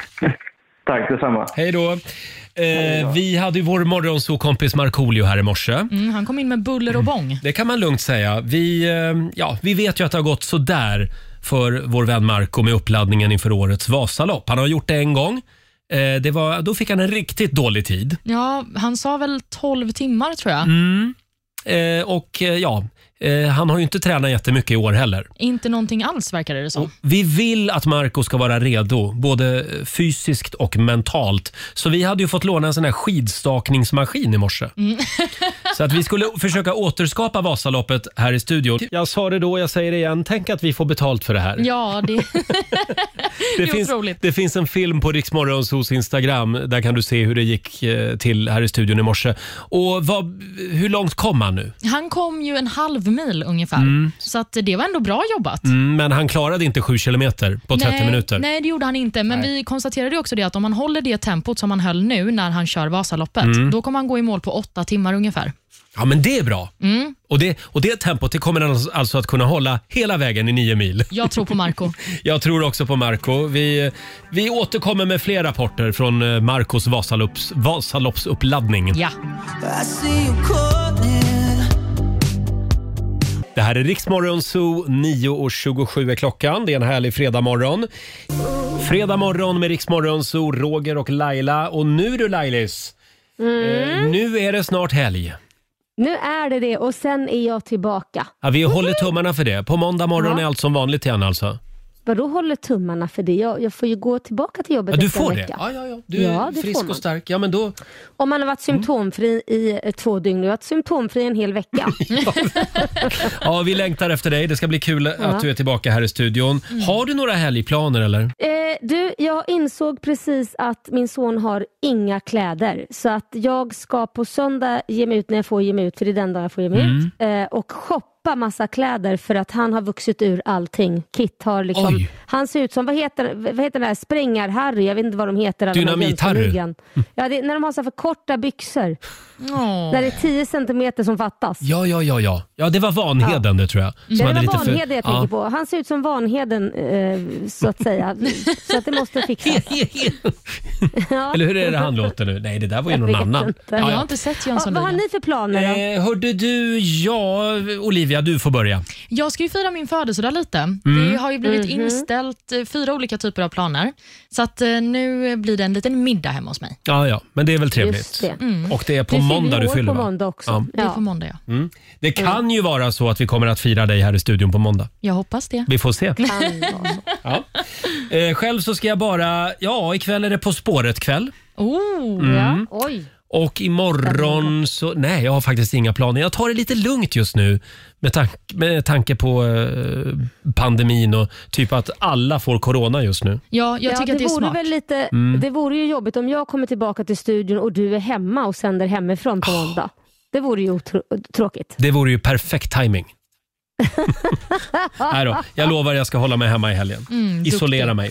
J: Tack detsamma.
A: Hej då. Eh, vi hade ju vår morgonsokompis Markoolio här i morse.
B: Mm, han kom in med buller och bång.
A: Det kan man lugnt säga. Vi, eh, ja, vi vet ju att det har gått så där för vår vän Marco med uppladdningen inför årets Vasalopp. Han har gjort det en gång. Eh, det var, då fick han en riktigt dålig tid.
B: Ja, han sa väl 12 timmar, tror jag.
A: Eh, och eh, ja, eh, han har ju inte tränat jättemycket i år heller.
B: Inte någonting alls, verkade det som.
A: Vi vill att Marco ska vara redo, både fysiskt och mentalt. Så vi hade ju fått låna en sån här skidstakningsmaskin i morse. så att vi skulle försöka återskapa Vasaloppet här i studion. Jag sa det då, jag säger det igen. Tänk att vi får betalt för det här.
B: Ja, det,
A: det,
B: är
A: finns,
B: otroligt.
A: det finns en film på Riksmorgons hos Instagram. Där kan du se hur det gick eh, till här i studion i morse. Och vad, hur långt kom han nu?
B: Han kom ju en halv mil ungefär, så att det var ändå bra jobbat.
A: Mm, men han klarade inte sju kilometer på 30
B: nej,
A: minuter.
B: Nej, det gjorde han inte. Men vi konstaterade ju också det att om man håller det tempot som han höll nu när han kör Vasaloppet,
A: Mm.
B: då kommer han gå i mål på åtta timmar ungefär.
A: Ja, men det är bra.
B: Mm.
A: Och, det, och det tempot det kommer han alltså att kunna hålla hela vägen i nio mil.
B: Jag tror på Marco.
A: Jag tror också på Marco. Vi, vi återkommer med fler rapporter från eh, Marcos Vasalopps, Vasaloppsuppladdning.
B: ja.
A: Det här är Riksmorgon Zoo, 9.27 är klockan. Det är en härlig fredagmorgon. Fredagmorgon med Riksmorgon Zoo, Roger och Laila. Och nu du Lailis,
D: Mm.
A: eh, nu är det snart helg.
D: Nu är det det och sen är jag tillbaka.
A: Ja, vi håller tummarna för det. På måndag morgon
D: Ja.
A: är allt som vanligt igen alltså.
D: Vadå håller tummarna för det? Jag, jag får ju gå tillbaka till jobbet
A: Ja, du
D: efter en
A: får det?
D: vecka.
A: Ja, ja, ja. Du är
D: Ja, det får
A: frisk
D: man.
A: och stark. Ja, men då,
D: Om man har varit
A: Mm.
D: symptomfri i eh, två dygn. Jag har varit symptomfri en hel vecka.
A: ja, vi längtar efter dig. Det ska bli kul att du är tillbaka här i studion.
D: Mm.
A: Har du några helgplaner eller?
D: Eh, du, jag insåg precis att min son har inga kläder. Så att jag ska på söndag ge mig ut när jag får ge mig ut, för det är den dag jag får ge mig
A: Mm.
D: ut. Eh, och shoppa massa kläder för att han har vuxit ur allting. Kit har liksom,
A: Oj.
D: han ser ut som, vad heter, vad heter den där, Sprängar-Harry, jag vet inte vad de heter. alla de här
A: Dynamit-Harry.
D: jönssonligan. Ja, det, är när de har så här för korta byxor. När det är 10 centimeter som fattas.
A: Ja, ja, ja, ja. Ja, det var Vanheden det tror jag. Som
D: Det var
A: lite för-
D: Vanheden jag tänker
A: Ja.
D: på. Han ser ut som Vanheden eh, så att säga. så att det måste fixas. Ja.
A: Eller hur är det han låter nu? Nej, det där var ju
D: Jag
A: någon
D: vet
A: annan.
D: inte.
A: Ja,
B: Jag har
A: ja.
B: inte sett
D: Ja, vad har
B: Jönssonligan.
D: ni för planer då?
A: Eh, hörde du, ja, Olivia, du får börja.
B: Jag ska ju fira min födelsedag lite.
A: Mm.
B: Det har ju blivit
D: Mhm.
B: inställt eh, fyra olika typer av planer. Så att eh, nu blir det en liten middag hemma hos mig.
A: Ja, ja, men det är väl trevligt.
D: Just det.
A: Och det är på
D: Du fyller
A: måndag du
D: år
A: fyller
D: på
A: va?
D: måndag också. Mm.
A: Ja.
B: Det är
D: Ja.
B: på måndag, ja.
A: Mm. Det kan ju vara så att vi kommer att fira dig här i studion på måndag.
B: Jag hoppas det.
A: Vi får se.
D: Kan vara så.
A: Ja. Eh, själv så ska jag bara, ja, ikväll är det På spåret-kväll.
B: Oh,
A: Mm.
D: Ja. Oj.
A: Och imorgon så... Nej, jag har faktiskt inga planer. Jag tar det lite lugnt just nu med, tank, med tanke på eh, pandemin och typ att alla får corona just nu.
B: ja, jag
D: Ja,
B: tycker att det är
D: vore
B: smart.
D: Väl lite,
A: Mm.
D: Det vore ju jobbigt om jag kommer tillbaka till studion och du är hemma
A: Ah.
D: och sänder hemifrån på måndag. Det vore ju otro- tråkigt.
A: Det vore ju perfekt timing. Nej då, jag lovar jag ska hålla mig hemma i helgen.
B: Mm,
A: Isolera mig.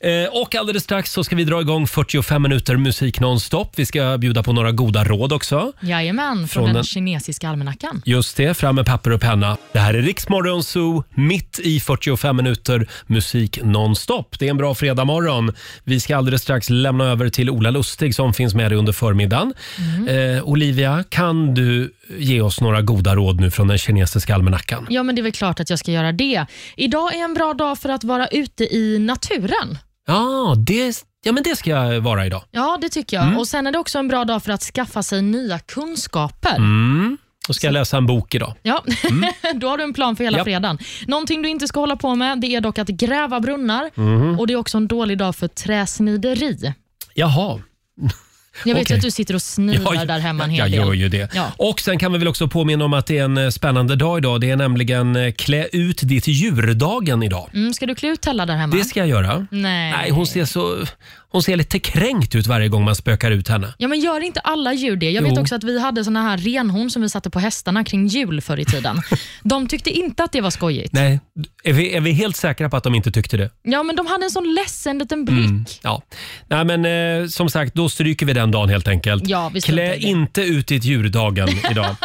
A: Eh, och alldeles strax så ska vi dra igång 45 minuter musik nonstop. Vi ska bjuda på några goda råd också.
B: Jajamän, från,
A: Från
B: den,
A: den-
B: kinesiska almanackan.
A: Just det, fram med papper och penna. Det här är Riksmorgon Zoo, mitt i 45 minuter musik nonstop. Det är en bra fredagmorgon. Vi ska alldeles strax lämna över till Ola Lustig som finns med dig under förmiddagen. Eh, Olivia, kan du ge oss några goda råd nu från den kinesiska almanackan?
B: Ja, men det är väl klart att jag ska göra det. Idag är en bra dag för att vara ute i naturen.
A: Ja, det, ja men det ska jag vara idag.
B: Ja, det tycker
A: Mm.
B: jag. Och Sen är det också en bra dag för att skaffa sig nya kunskaper.
A: Mm. Då ska jag läsa en bok idag.
B: Ja, Då har du en plan för hela
A: Japp.
B: fredagen. Någonting du inte ska hålla på med det är dock att gräva brunnar.
A: Mhm.
B: Och Det är också en dålig dag för träsnideri.
A: Jaha.
B: Jag vet
A: Okej.
B: ju att du sitter och snidar där hemma en hel
A: jag,
B: del.
A: jag gör ju det.
B: Ja.
A: Och Sen kan vi väl också påminna om att det är en eh, spännande dag idag. Det är nämligen eh, klä ut ditt djurdagen idag.
B: Mm, ska du klä ut Tella där hemma?
A: Det ska jag göra.
B: Mm. Nej.
A: Nej, hon ser, så, hon ser lite kränkt ut varje gång man spökar ut henne.
B: Ja, men gör inte alla djur det? Jag
A: Jo.
B: vet också att vi hade såna här renhorn som vi satte på hästarna kring jul förr i tiden. De tyckte inte att det var skojigt.
A: Nej, är vi, är vi helt säkra på att de inte tyckte det?
B: Ja, men de hade en sån ledsen liten blick.
A: Mm, Ja. Nej, men eh, som sagt, då stryker vi den dagen helt enkelt.
B: Ja, vi struntar
A: Klä
B: i det.
A: inte ut ditt djurdagen idag. eh,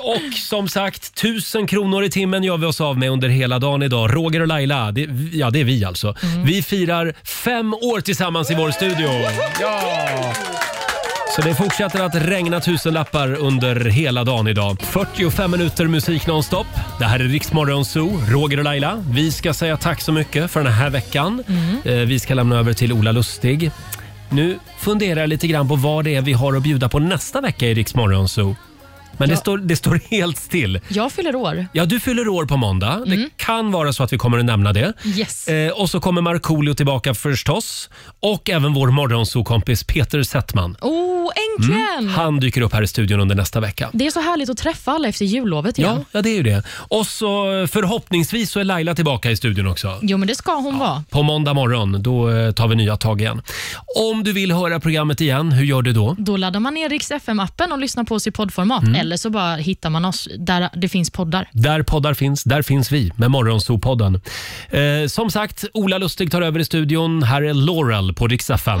A: och som sagt, tusen kronor i timmen gör vi oss av med under hela dagen idag. Roger och Laila, det, ja det är vi alltså.
B: Mm.
A: Vi firar fem år tillsammans i vår studio. Ja! Så det fortsätter att regna tusenlappar under hela dagen idag. 45 minuter musik nonstop. Det här är Riksmorgon Zoo, Roger och Laila. Vi ska säga tack så mycket för den här veckan. Eh, Vi ska lämna över till Ola Lustig. Nu funderar jag lite grann på vad det är vi har att bjuda på nästa vecka i Riksmorgon Zoo. Men det, står, det står helt still.
B: Jag fyller år.
A: Ja, du fyller år på måndag. Det kan vara så att vi kommer att nämna det.
B: Yes.
A: Eh, och så kommer Markoolio tillbaka förstås. Och även vår morgonsokompis Peter Settman.
B: Oh, äntligen!
A: Han dyker upp här i studion under nästa vecka.
B: Det är så härligt att träffa alla efter jullovet igen.
A: Ja, ja, det är ju det. Och så förhoppningsvis så är Laila tillbaka i studion också.
B: Jo, men det ska hon vara.
A: På måndag morgon, då eh, tar vi nya tag igen. Om du vill höra programmet igen, hur gör du då?
B: Då laddar man ner Rix FM-appen och lyssnar på oss i poddformat.
A: Mm.
B: Eller så bara hittar man oss där det finns poddar.
A: Där poddar finns, där finns vi med Morgonzoo-podden. Eh, som sagt, Ola Lustig tar över i studion. Här är Laurel på Rix FM.